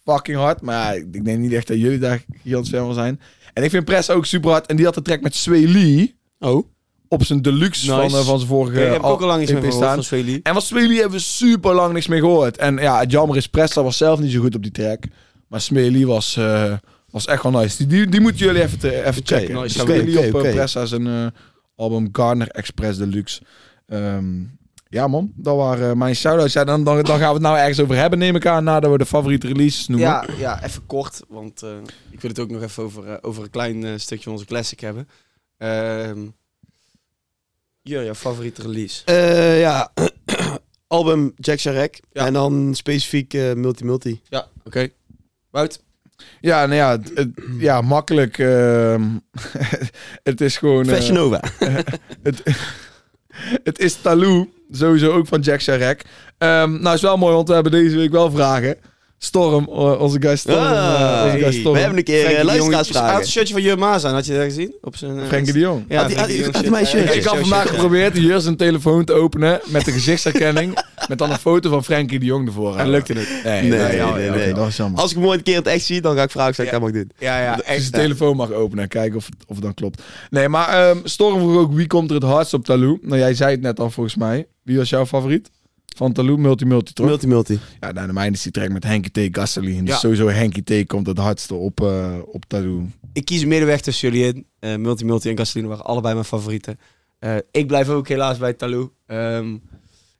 S1: fucking hard. Maar ja, ik denk niet echt dat jullie daar gigantisch fan van zijn. En ik vind Pressa ook super hard. En die had de track met Sway Lee
S2: Oh.
S1: op zijn deluxe
S2: Nice.
S1: van, eh, van zijn vorige
S2: Oké, daar heb ik
S1: al-
S2: ook al lang iets
S1: EP
S2: meer gehoord
S1: staan.
S2: van Swaley.
S1: En van Smelie hebben we super lang niks meer gehoord. En ja, het jammer is, Presta was zelf niet zo goed op die track. Maar Smelie was, eh, was echt wel nice. Die, die, die moeten jullie even, te, even checken.
S2: nice.
S1: Smelie
S3: Oké, oké,
S1: op eh,
S3: oké.
S1: Pressa zijn eh, album Garner Express Deluxe. Ehm, ja man, dat waren eh, mijn shout-outs. Ja, dan, dan, dan gaan we het nou ergens over hebben, neem ik aan, nadat we de favoriete releases noemen.
S2: Ja, ja, even kort, want eh, ik wil het ook nog even over, eh, over een klein eh, stukje van onze classic hebben. Ehm ja, jouw favoriete release.
S3: Eh, ja, album Jack Sharek.
S2: Ja.
S3: En dan specifiek eh, Multi Multi.
S2: Ja, oké. Wout?
S1: Ja, nou ja, het- het- ja makkelijk. ehm, het is gewoon... eh,
S3: Fashion
S2: Oh,
S3: Nova.
S1: Het is Talou, sowieso ook van Jack Sharek. Ehm, nou, is wel mooi, want we hebben deze week wel vragen. Storm, eh, onze guy Storm. eh,
S3: Ah,
S1: onze guy
S3: hey,
S1: Storm.
S3: we hebben een keer
S2: Frankie
S3: eh,
S2: de Jong, hij had
S3: luisteraarsvragen.
S2: een shirtje van Jurma aan, had je dat gezien? Op zijn, eh,
S1: Frenkie de Jong.
S2: Ja,
S3: Had die-
S2: Frenkie de
S3: had-
S2: Jong shit.
S3: had mijn
S2: Ja, ja,
S3: shirtje.
S1: Ik had vandaag
S2: shit, ja.
S1: geprobeerd hier zijn telefoon te openen met de gezichtsherkenning. met dan een foto van Frenkie de Jong ervoor.
S2: En lukte het.
S1: Nee,
S3: Nee, nee,
S1: ja,
S3: nee,
S1: ja,
S3: nee.
S1: oké, Dat is jammer.
S3: Als ik hem ooit een keer in het echt zie, dan ga ik vragen of ik dat mag doen.
S2: Ja, ja,
S1: Als je
S2: echt.
S1: de telefoon mag openen en kijken of, het- of het dan klopt. Nee, maar ehm, Storm vroeg ook wie komt er het hardst op Talou. Nou, jij zei het net al volgens mij. Wie was jouw favoriet? Van Talou, Multi Multi, toch?
S3: Multi Multi.
S1: Ja, nou, de mijne is die track met Henkie T. Gasolin. Dus
S2: Ja.
S1: sowieso Henkie T. komt het hardste op, eh op Tattoo.
S2: Ik kies een middenweg tussen jullie in. Eh, Multi Multi en Gasoline waren allebei mijn favorieten. Eh, ik blijf ook helaas bij Talou. Ehm, ik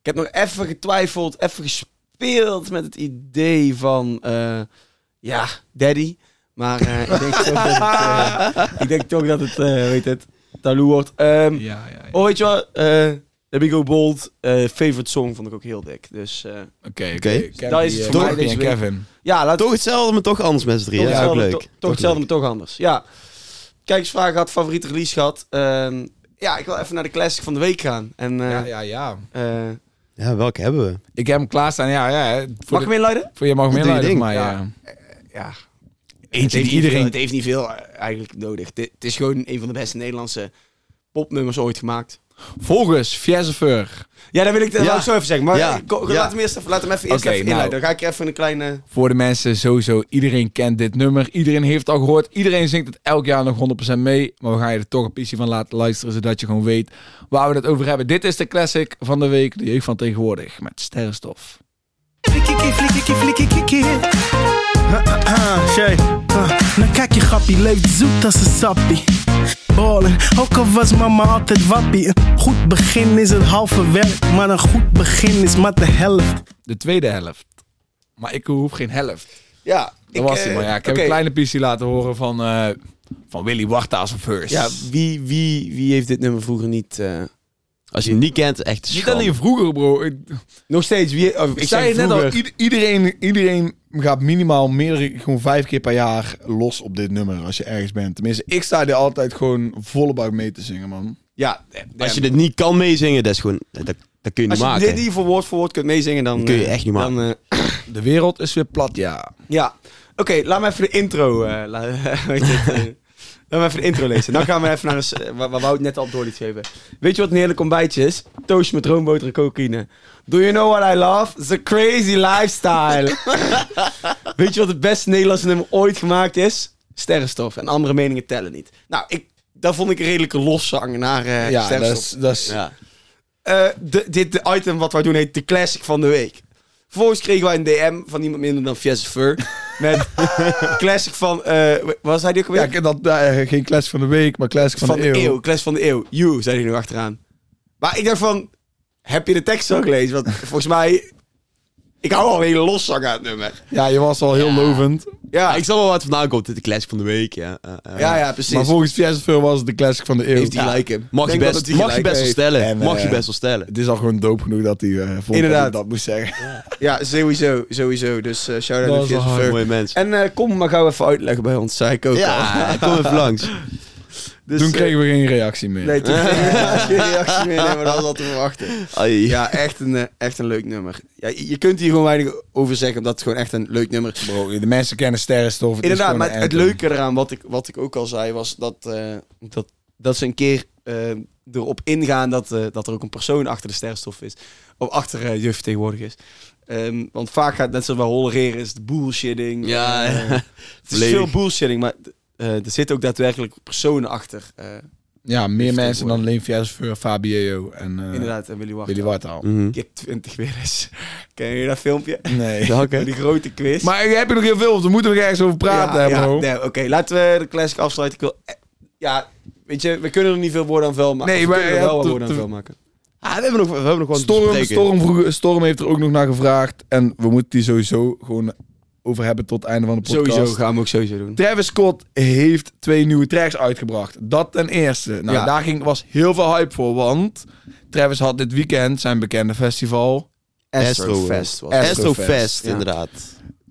S2: heb nog even getwijfeld, even gespeeld met het idee van, eh, ja, Daddy. Maar eh, ik, denk toch dat het, eh, ik denk toch dat het, eh, weet het, Talou wordt. Ehm,
S1: Ja, ja.
S2: Oh, weet je wat? Eh The Big Go Bold, eh, favorite song vond ik ook heel dik. Dus eh,
S1: Oké, eh,
S3: Oké.
S2: Dat is voor mij deze week.
S1: Kevin.
S2: ja, laten
S3: Toch hetzelfde, maar toch anders met z'n drieën.
S2: Toch
S3: Ja, ook
S2: hetzelfde,
S3: leuk.
S2: to- toch hetzelfde, maar toch anders. Ja. Kijkersvraag gehad, favoriete release gehad. Ehm, ja, ik wil even naar de classic van de week gaan. En, eh,
S1: Ja, ja, ja.
S2: eh,
S3: Ja, welke hebben we?
S1: Ik heb hem klaarstaan. Ja, ja. Voor,
S2: mag ik hem inluiden?
S1: de- voor je mag hem
S3: Doe je
S1: inleiden,
S3: ding.
S1: maar ja.
S2: Ja. Ja. Het
S1: Eentje
S2: heeft,
S1: die
S2: niet veel,
S1: iedereen...
S2: het heeft niet veel eh, eigenlijk nodig. Dit- Het is gewoon een van de beste Nederlandse popnummers ooit gemaakt.
S1: Volgens Fjezefer,
S2: Ja, dan wil ik dat
S3: Ja.
S2: wou ik zo even zeggen. Maar
S3: Ja.
S2: eh, ko-
S1: Ja.
S2: laat, hem eerst even, laat hem even eerst
S1: Oké,
S2: even
S1: nou.
S2: inleiden. Dan ga ik even een kleine...
S1: voor de mensen sowieso, iedereen kent dit nummer. Iedereen heeft het al gehoord. Iedereen zingt het elk jaar nog 100% mee. Maar we gaan je er toch een piece van laten luisteren, zodat je gewoon weet waar we het over hebben. Dit is de classic van de week, de jeugd van tegenwoordig, met sterrenstof.
S5: Flikkie, flikkie, flikkie, flikkie. Shay. Nou kijk je grappie, leeft zoet als een sappie. Ballen, ook al was mama altijd wappie. Een goed begin is het halve werk, maar een goed begin is maar de helft.
S1: De tweede helft. Maar ik hoef geen helft.
S2: Ja, eh,
S1: Dat was hij maar. Ja, ik eh, heb een kleine piece laten horen van, eh, van Willy Warta's first.
S2: Ja, wie, wie, wie heeft dit nummer vroeger niet... eh,
S3: Als je hem niet kent, echt
S1: Niet
S3: schande.
S1: alleen vroeger, bro. Ik,
S2: Nog steeds, wie, of,
S1: ik zei het net al,
S2: vroeger.
S1: ied- iedereen, iedereen gaat minimaal meerdere, gewoon vijf keer per jaar los op dit nummer als je ergens bent. Tenminste, ik sta er altijd gewoon volle bak mee te zingen, man.
S2: Ja, ehm,
S3: Als je dit niet kan meezingen, dat is gewoon... Dat, dat kun je
S2: als
S3: niet
S2: je
S3: maken.
S2: dit niet voor woord voor woord kunt meezingen, dan...
S3: Dat kun je
S2: eh,
S3: echt niet
S2: dan, eh,
S1: De wereld is weer plat, ja.
S2: ja, oké, laat me even de intro... eh, la- weet je het, eh, laat me even de intro lezen. Dan gaan we even naar een, s- eh, waar, waar Wout net al op door liet geven. Weet je wat een heerlijk ontbijtje is? Toast met roomboter en cocaïne. Do you know what I love? The crazy lifestyle. Weet je wat het beste Nederlandse nummer ooit gemaakt is? Sterrenstof. En andere meningen tellen niet. Nou, ik, dat vond ik een redelijke loszang naar
S1: Ja,
S2: eh
S1: dat
S2: Sterrenstof.
S1: is, dat is
S3: Ja.
S2: Eh, de, dit de item wat wij doen heet de classic van de week. Vervolgens kregen wij een DM van niemand minder dan Fies Fur. Met classic van... eh wat was hij die ook
S1: Ja,
S2: alweer?
S1: ik heb dat, eh, geen class van de week, maar classic van, de, eeuw.
S2: Classic van de eeuw. You, zei hij nog achteraan. Maar ik dacht van... Heb je de tekst al gelezen? Want volgens mij... Ik hou al een hele loszang uit het nummer.
S1: Ja, je was al heel lovend.
S2: Ja,
S3: ik zal wel wat vandaan komt. Dit is de classic van de week, ja. Eh, eh,
S2: ja, ja precies.
S1: Maar volgens Fiasco was het de classic van de eeuw.
S2: Heeft hij
S1: Ja.
S2: gelijk hem.
S3: Mag, je
S2: Denk dat
S3: best,
S2: het die
S3: mag je
S2: gelijk
S3: best wel
S2: heeft.
S3: stellen.
S1: En,
S3: mag je
S1: eh,
S3: best wel stellen.
S1: Het is al gewoon doop genoeg dat hij eh vond dat
S2: Inderdaad.
S1: ik dat moest zeggen.
S2: Ja, sowieso. Sowieso. Dus eh, shout-out
S1: Dat
S2: naar
S1: is wel
S2: Fies
S1: hard.
S2: Fur.
S3: Mooie mens.
S2: En eh, kom maar gauw even uitleggen bij ons, zei ik ook al.
S3: Ja, kom even langs.
S2: Dus,
S1: Toen
S2: eh,
S1: kregen we geen reactie meer.
S2: Nee, toen kreeg ik geen reactie meer, nee, maar dat was al te verwachten.
S3: Ai.
S2: Ja, echt een, eh, echt een leuk nummer. Ja, je je kunt hier gewoon weinig over zeggen, omdat het gewoon echt een leuk nummer is. Dus
S1: Bro, de mensen kennen sterrenstof. het is
S2: Inderdaad,
S1: gewoon
S2: maar
S1: een
S2: het
S1: anthem.
S2: leuke eraan, wat ik, wat ik ook al zei, was dat, eh, dat, dat ze een keer eh, erop ingaan dat, eh, dat er ook een persoon achter de sterrenstof is. Of achter eh juf tegenwoordig is. Ehm, want vaak gaat net zoals bij hollereren is het bullshitting.
S3: Ja,
S2: eh, het is
S3: volledig.
S2: veel bullshitting, maar eh, er zitten ook daadwerkelijk personen achter. eh,
S1: Ja, meer
S2: Heeft
S1: mensen dan
S2: tegenwoordig.
S1: alleen Fiasco, Fabio en eh,
S2: inderdaad, Mm. en Willy Wacht.
S1: Willy Wartaal.
S3: Mhm.
S2: keer 20 weer eens. Ken je dat filmpje?
S1: Nee.
S2: Met Die grote quiz.
S1: Maar ik heb er nog heel veel, want we moeten nog ergens over praten, hè,
S2: ja, ja,
S1: bro.
S2: nee, Oké, laten we de classic afsluiten. Ik wil... eh, Ja, weet je, we kunnen er niet veel woorden aan vuil maken.
S1: Nee,
S2: Of
S1: maar
S2: we kunnen
S1: ja,
S2: er wel wat
S1: te-
S2: woorden aan
S1: te-
S2: vuil maken.
S3: Ah, we hebben nog, we hebben nog wat te
S1: Storm,
S3: bespreken.
S1: Storm, vroeg, Storm heeft er ook nog naar gevraagd. En we moeten die sowieso gewoon over hebben tot het einde van de podcast.
S2: Sowieso gaan we ook sowieso doen.
S1: Travis Scott heeft twee nieuwe tracks uitgebracht. Dat ten eerste. Nou,
S2: Ja.
S1: daar ging, was heel veel hype voor, want Travis had dit weekend zijn bekende festival.
S2: Astrofest was het.
S1: Astrofest,
S3: Astrofest,
S2: ja.
S3: inderdaad.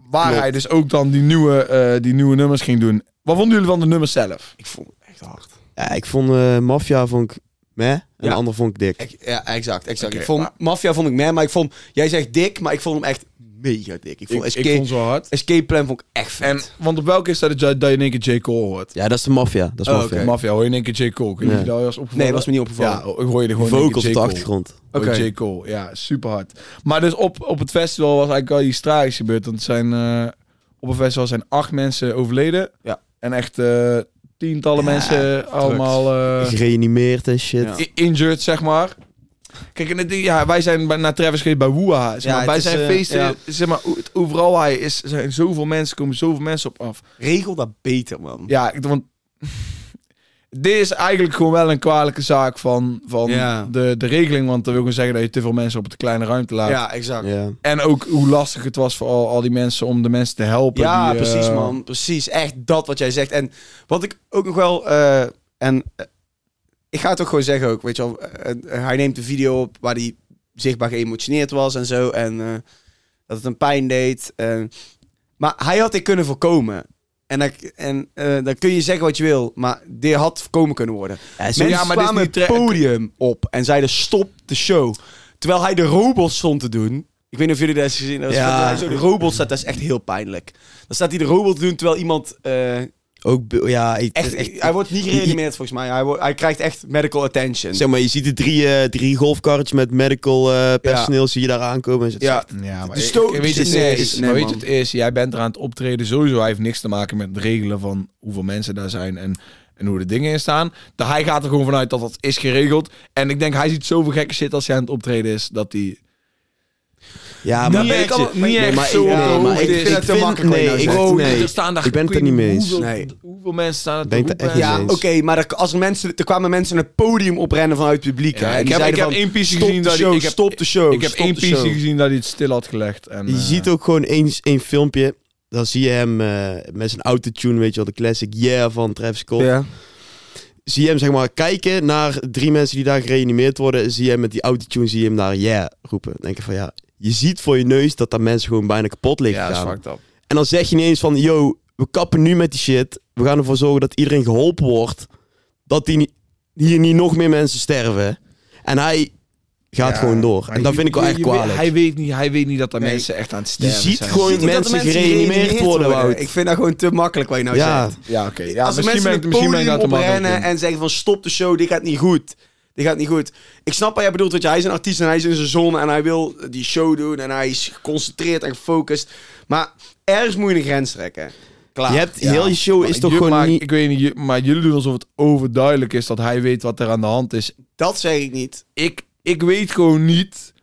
S1: Waar
S3: Klopt.
S1: hij dus ook dan die nieuwe, eh, die nieuwe nummers ging doen. Wat vonden jullie van de nummers zelf?
S2: Ik vond het echt hard.
S3: Ja, ik vond eh Mafia vond ik meh, en de
S2: Ja.
S3: ander vond ik dik.
S2: Ik- ja, exact. exact.
S1: Oké,
S2: ik vond,
S1: maar-
S2: Mafia vond ik man, maar ik vond... Jij zegt dik, maar ik vond hem echt mega dik. Ik vond,
S1: ik,
S2: Escape,
S1: ik vond ze wel hard.
S2: Escape Plan vond ik echt
S1: En,
S2: vet.
S1: want op welke is dat dat je, dat je in één keer J. Cole hoort?
S3: Ja, dat is de Mafia. Dat is
S2: Oh,
S3: Mafia.
S2: oké.
S1: Mafia hoor je in één keer J. Cole. Ik weet niet of
S3: Nee.
S1: je dat was opgevallen.
S2: nee, was me niet opgevallen.
S1: Ja, ik hoor je er gewoon in één
S3: Vocals
S1: keer J.
S3: op de
S1: Cole.
S3: achtergrond.
S1: Hoor je
S2: Oké.
S1: J. Cole, ja, super hard. Maar dus op, op het festival was eigenlijk al iets tragisch gebeurd. Want het zijn, eh, op het festival zijn acht mensen overleden.
S2: Ja.
S1: En echt eh, tientallen mensen allemaal eh,
S3: Gereanimeerd en shit.
S2: Ja.
S1: i- injured, zeg maar. Kijk, en het ding- ja, wij zijn bij- naar Travis geweest bij Woeha. Zeg
S2: Ja,
S1: maar,
S2: het
S1: bij
S2: is,
S1: zijn
S2: eh,
S1: feesten,
S2: ja.
S1: zeg maar, o- het- overal waar hij is, zijn zoveel mensen, komen zoveel mensen op af.
S2: Regel dat beter, man.
S1: Ja, ik- want dit is eigenlijk gewoon wel een kwalijke zaak van, van
S2: Ja.
S1: de, de regeling. Want dat wil gewoon zeggen dat je te veel mensen op de kleine ruimte laat.
S2: Ja, exact.
S3: Ja.
S1: En ook hoe lastig het was voor al, al die mensen om de mensen te helpen.
S2: Ja,
S1: die, eh,
S2: precies man. Precies. Echt dat wat jij zegt. En wat ik ook nog wel... eh, en eh, ik ga het ook gewoon zeggen ook. Weet je wel, eh, eh, hij neemt een video op waar hij zichtbaar geëmotioneerd was en zo. En eh, dat het een pijn deed. eh. maar hij had dit kunnen voorkomen. En, dat, en eh, dan kun je zeggen wat je wil. Maar dit had voorkomen kunnen worden.
S3: Ja, zo-
S2: Mensen
S1: ja, maar dit is
S2: kwamen
S1: niet
S2: het
S1: tra-
S2: podium op en zeiden stop de show. Terwijl hij de robot stond te doen. Ik weet niet of jullie dat eens gezien hebben.
S3: Ja.
S2: Als hij Zo de robot staat, dat is echt heel pijnlijk. Dan staat hij de robot te doen terwijl iemand eh,
S3: Ook, be- ja, ik-
S2: Echt,
S3: ik-
S2: hij wordt niet gereanimeerd volgens mij. Hij, wordt- hij krijgt echt medical attention.
S3: Zeg maar, je ziet de drie, eh, drie golfkarretjes met medical eh, personeel zie je daar aankomen. En zegt,
S2: ja,
S1: Ja, maar
S2: De
S1: ik-
S2: stoot-
S1: ik weet je, het
S2: nee,
S1: is,
S2: nee,
S1: maar weet je
S2: man.
S1: het is, jij bent eraan het optreden sowieso. Hij heeft niks te maken met het regelen van hoeveel mensen daar zijn en, en hoe de dingen in staan. De, hij gaat er gewoon vanuit dat dat is geregeld. En ik denk, hij ziet zoveel gekke shit als hij aan het optreden is, dat hij...
S3: ja,
S1: Daar
S3: maar
S1: ben ik al- niet echt
S3: maar
S1: zo
S3: ik-
S1: op de
S3: nee, maar
S1: hoogte.
S3: ik
S1: Ik vind
S2: het te makkelijk wat je
S3: Nee,
S2: nou
S3: ik,
S2: zegt.
S1: Oh,
S3: nee,
S1: er staan daar
S3: ik ben het er
S1: ik
S3: niet
S1: weet
S3: mee eens.
S1: Hoeveel,
S2: Nee.
S1: hoeveel mensen staan er
S3: Ben ik het er echt
S2: ja
S3: niet
S2: oké,
S3: eens.
S2: maar er, als er mensen, er kwamen mensen naar het podium oprennen vanuit het publiek. hè,
S1: Ja,
S2: en
S1: ik
S2: die
S1: heb, ik
S2: zeiden
S1: heb
S2: van,
S1: één piece
S2: stop
S1: gezien
S2: de
S1: dat
S2: show,
S1: ik heb,
S2: stop de show.
S1: ik heb
S2: stop
S1: één
S2: de
S1: piece
S2: show.
S1: gezien dat hij het stil had gelegd. En,
S3: Je
S1: eh,
S3: ziet ook gewoon één, één filmpje. Dan zie je hem eh, met zijn autotune, weet je wel, de classic yeah van Travis Scott.
S2: Ja.
S3: Zie je hem zeg maar kijken naar drie mensen die daar gereanimeerd worden. Zie je hem met die autotune, zie je hem daar yeah roepen. Dan denk ik van ja, je ziet voor je neus dat daar mensen gewoon bijna kapot liggen
S1: ja, dat is
S3: gaan.
S1: fucked up.
S3: En dan zeg je niet eens van, yo, we kappen nu met die shit. We gaan ervoor zorgen dat iedereen geholpen wordt. Dat die, ni- hier niet nog meer mensen sterven. En hij gaat
S1: Ja,
S3: gewoon door.
S1: maar
S3: En dat
S1: je-
S3: vind ik wel
S1: je-
S3: echt
S1: je weet-
S3: kwalijk.
S1: hij, weet niet, hij weet niet dat er
S2: Nee.
S1: mensen echt aan het
S3: je
S1: sterven
S3: ziet
S1: zijn.
S3: gewoon
S2: Ziet
S3: mensen,
S2: ook dat de
S3: gereanimeerd worden, Wout.
S2: Ik vind dat gewoon te makkelijk wat je nou
S3: Ja.
S2: zegt.
S1: Ja, oké. Ja,
S2: als er
S1: misschien
S2: mensen
S1: ben ik-
S2: naar het
S1: misschien ben ik
S2: podium
S1: daar te makkelijk
S2: oprennen
S1: in.
S2: en zeggen van stop de show, dit gaat niet goed. Dit gaat niet goed. Ik snap wat jij bedoelt, want jij is een artiest en hij is in zijn zon en hij wil die show doen en hij is geconcentreerd en gefocust. Maar ergens moet je een grens trekken. Klaar.
S3: Je hebt, heel je show is toch
S1: Jullie
S3: gewoon
S1: maken-
S3: niet...
S1: Ik weet niet, ju- maar jullie doen alsof het overduidelijk is dat hij weet wat er aan de hand is.
S2: Dat zeg ik niet.
S1: Ik, ik weet gewoon niet,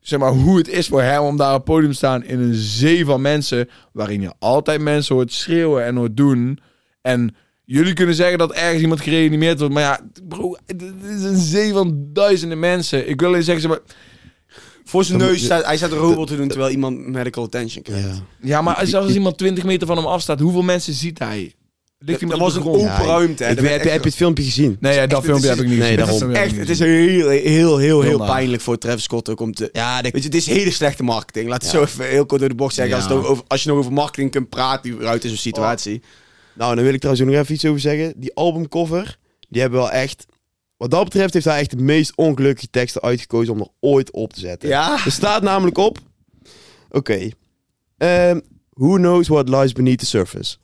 S1: zeg maar, hoe het is voor hem om daar op het podium te staan in een zee van mensen, waarin je altijd mensen hoort schreeuwen en hoort doen. En jullie kunnen zeggen dat ergens iemand gereanimeerd wordt, maar ja, bro, het is een zee van duizenden mensen. Ik wil alleen zeggen, zeg maar,
S2: Voor zijn
S3: Dan
S2: neus
S3: moet-
S2: staat, hij staat een robot te doen terwijl iemand medical attention krijgt.
S3: Ja.
S1: ja, maar als, als iemand 20 meter van hem afstaat, hoeveel mensen ziet hij? Ligt
S2: Dat
S1: iemand
S2: was
S1: op
S2: een
S1: de grond?
S2: open ruimte. hè.
S3: Ik
S2: Dat
S3: weet-
S2: werd
S3: heb, je-
S2: echt-
S3: heb je het filmpje gezien?
S1: Nee, ja, dat
S2: echt-
S1: filmpje
S2: het
S1: heb
S2: is-
S1: ik niet
S3: nee,
S1: gezien.
S3: daarom.
S1: Dat
S2: Het
S1: filmpje
S2: is
S1: heb ik
S2: echt,
S1: niet
S2: het is
S1: gezien.
S2: heel, heel, heel, heel
S1: naar.
S2: pijnlijk voor Travis Scott ook om te...
S3: Ja,
S2: Weet je, het is hele slechte marketing. Laat het zo even heel kort door de bocht zeggen.
S1: Ja.
S2: Als, het over, als je nog over marketing kunt praten, überhaupt in zo'n situatie.
S1: Oh.
S3: Nou, dan wil ik trouwens ook nog even iets over zeggen. Die albumcover, die hebben wel echt... Wat dat betreft heeft hij echt de meest ongelukkige teksten uitgekozen om er ooit op te zetten.
S2: Ja.
S3: Er staat namelijk op... Oké. Ehm, who knows what lies beneath the surface?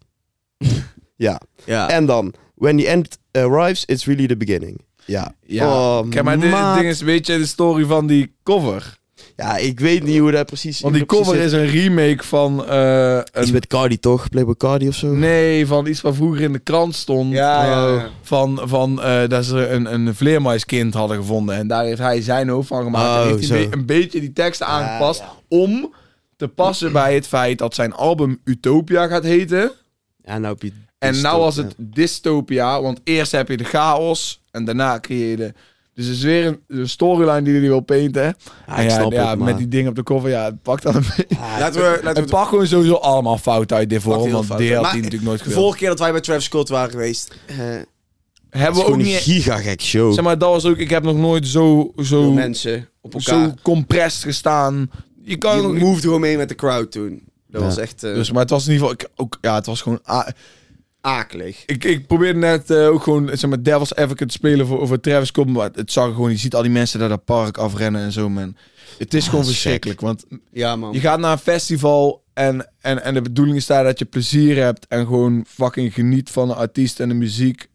S3: ja.
S2: ja.
S3: En dan... When the end arrives, it's really the beginning. Ja.
S1: Ja,
S3: Oh,
S1: kijk, maar dit-
S3: maat.
S1: het ding is, weet je de story van die cover?
S3: Ja, ik weet niet hoe dat precies...
S1: Want die
S3: precies
S1: cover
S3: zit.
S1: is een remake van... eh,
S3: Iets
S1: een,
S3: met Cardi, toch? Playboy Cardi of zo?
S1: nee, van iets wat vroeger in de krant stond. eh,
S2: Ja, ja, ja.
S1: Van, van eh, dat ze een, een vleermuiskind hadden gevonden. En daar heeft hij zijn hoofd van gemaakt.
S3: Oh,
S1: en heeft hij
S3: zo.
S1: een be- een beetje die teksten aangepast om te passen bij het feit dat zijn album Utopia gaat heten.
S3: Ja, nou heb je...
S1: En nou
S3: Stop,
S1: was
S3: ja.
S1: het dystopia, want eerst heb je de chaos en daarna creëer je de... Dus het is weer een, een storyline die jullie wil painten. hè?
S3: Ja,
S1: En
S3: ik
S1: ja,
S3: snap
S1: ja,
S3: het, maar-
S1: met die dingen op de koffer, ja, het pakt dan een beetje.
S2: Laten we, laten
S1: Het
S2: we
S1: pakt gewoon sowieso allemaal fout uit dit
S2: Pakt
S1: vorm,
S2: heel
S1: want
S2: fout
S1: die
S2: uit.
S1: had
S2: Maar
S1: die natuurlijk nooit
S2: de
S1: gewild.
S2: vorige keer dat wij bij Travis Scott waren geweest. eh,
S1: Hebben we
S3: Het is
S1: ook
S3: gewoon een
S1: niet...
S3: gigagek show.
S1: Zeg maar, dat was ook... Ik heb nog nooit zo...
S2: veel
S1: zo
S2: mensen op elkaar.
S1: zo compressed gestaan. Je kan
S2: Die moved gewoon mee met de crowd toen. Dat
S3: Ja.
S2: was echt eh,
S1: Dus, maar het was in ieder geval... Ik, ook, ja, het was gewoon... a-
S2: akelig.
S1: ik, ik probeerde net eh, ook gewoon, zeg maar, devil's advocate te spelen voor, voor Travis Scott. Maar het zag er gewoon, je ziet al die mensen daar dat park afrennen en zo, man. Het is gewoon
S3: Ah, dat is
S1: verschrikkelijk, want
S2: Ja, man.
S1: je gaat naar een festival en, en, en de bedoeling is daar dat je plezier hebt en gewoon fucking geniet van de artiest en de muziek.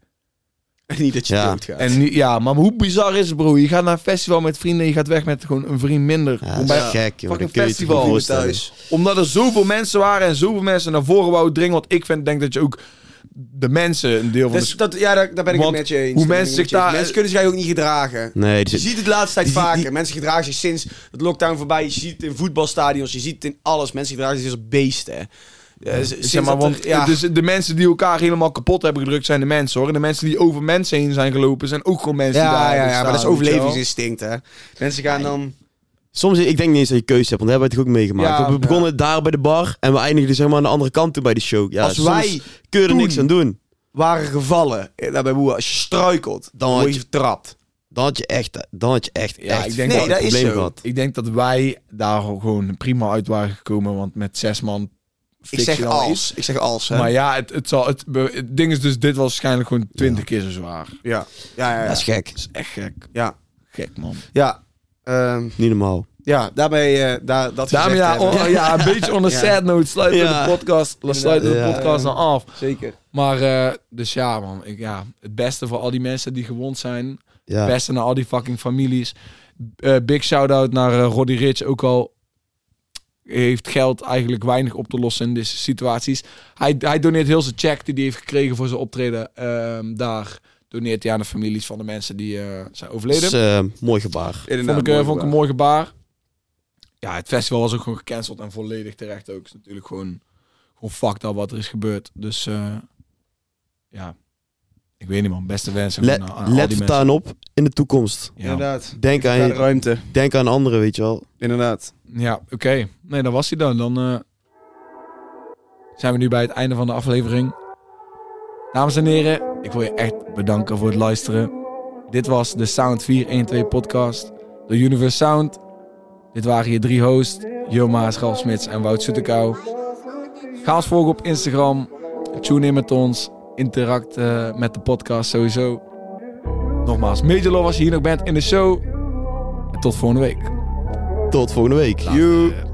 S2: niet dat je
S3: Ja.
S2: doodgaat.
S1: En niet, ja, maar hoe bizar is het, bro? Je gaat naar een festival met vrienden en je gaat weg met gewoon een vriend minder.
S3: Ja,
S1: Om
S3: dat is
S1: bij-
S3: gek, joh.
S1: fucking
S3: Dat kun je je toch niet
S1: festival.
S3: voorstellen.
S2: Thuis.
S1: Omdat er zoveel mensen waren en zoveel mensen naar voren wou dringen. Want ik vind, denk dat je ook de mensen een deel van de
S2: Dus dat, ja, daar, daar ben ik
S1: Want
S2: het met je eens.
S1: hoe
S2: Daar ben
S1: mensen
S2: ik het
S1: zich
S2: met je eens.
S1: daar-
S2: Mensen kunnen zich ook niet gedragen.
S3: Nee, die
S2: Je
S3: zit-
S2: ziet het de laatste tijd
S3: Die- die-
S2: vaker. Mensen gedragen zich sinds het lockdown voorbij. Je ziet het in voetbalstadions, je ziet het in alles. Mensen gedragen zich als beesten. Eh, s- sinds
S1: Zeg maar,
S2: dat er-
S1: want dus de mensen die elkaar helemaal kapot hebben gedrukt zijn de mensen hoor. En de mensen die over mensen heen zijn gelopen zijn ook gewoon mensen die daar
S2: ja, ja,
S1: hebben
S2: ja, maar dat is
S1: gestaan, weet je wel.
S2: overlevingsinstinct, hè. Mensen gaan dan...
S3: Soms, ik denk niet eens dat je keuze hebt, want dat hebben we het ook meegemaakt.
S1: Ja,
S3: we begonnen daar bij de bar en we eindigden zeg maar aan de andere kant toe bij de show. Ja,
S2: Als
S3: soms
S2: wij
S3: kun je er
S2: toen-
S3: niks aan doen.
S2: Waren gevallen eh, daar bij Boer. Als je struikelt, dan
S3: had
S2: word je
S3: je-
S2: vertrapt.
S3: Dan had je echt, dan had je echt,
S1: Ja,
S3: echt
S1: ik denk
S3: fucking
S2: Nee, dat is
S3: probleem
S2: zo.
S3: gehad.
S1: Ik denk dat wij daar gewoon prima uit waren gekomen, want met zes man.
S2: Ik zeg
S1: fictional
S2: als.
S1: is.
S2: Ik zeg als, hè.
S1: Maar ja, het, het, zal, het, be- het ding is dus, dit was waarschijnlijk gewoon twintig keer zo zwaar. Dat
S2: ja. Ja, ja,
S3: Dat
S2: ja.
S3: is gek.
S1: is echt gek.
S2: Ja,
S1: Gek man.
S2: ja. Ehm,
S3: Niet normaal.
S2: ja, daarmee, oh, eh, daar, dat
S1: Daarmee
S2: gezegd
S1: ja,
S2: hebben.
S1: on- ja, een beetje on a
S2: Ja.
S1: sad note sluiten we
S3: Ja.
S1: de podcast, sluiten we de
S3: Ja.
S1: podcast dan af.
S2: Zeker.
S1: Maar, eh, dus ja man, ik, ja, het beste voor al die mensen die gewond zijn.
S3: Ja.
S1: Beste naar al die fucking families. Eh, big shout-out naar eh, Roddy Rich. Ook al heeft geld eigenlijk weinig op te lossen in deze situaties. Hij, hij doneert heel zijn check die hij heeft gekregen voor zijn optreden. ehm, daar doneert hij aan de families van de mensen die eh, zijn overleden.
S3: Dat is, eh, mooi gebaar.
S1: vond ik, eh, vond ik een mooi gebaar. Ja, het festival was ook gewoon gecanceld en volledig terecht ook. Het is natuurlijk gewoon, gewoon fucked up wat er is gebeurd. Dus eh, ja, ik weet niet man. Beste wensen
S3: Let,
S1: gewoon aan, aan al
S3: let
S1: die
S3: voortaan op in de toekomst.
S1: mensen. Ja,
S2: Inderdaad.
S3: Denk
S2: Naar de
S3: aan,
S2: ruimte.
S3: denk aan anderen, weet je wel.
S2: Inderdaad.
S1: ja oké. Nee, dat was hij dan. Dan eh, zijn we nu bij het einde van de aflevering. Dames en heren, ik wil je echt bedanken voor het luisteren. Dit was de Sound 412 podcast. De Universe Sound. Dit waren je drie hosts. Jomaas, Ralf Smits en Wout Soetekau. Ga ons volgen op Instagram. Tune in met ons. Interact eh, met de podcast sowieso. Nogmaals, major love als je hier nog bent in de show. En tot volgende week.
S3: Tot volgende week.
S1: Later.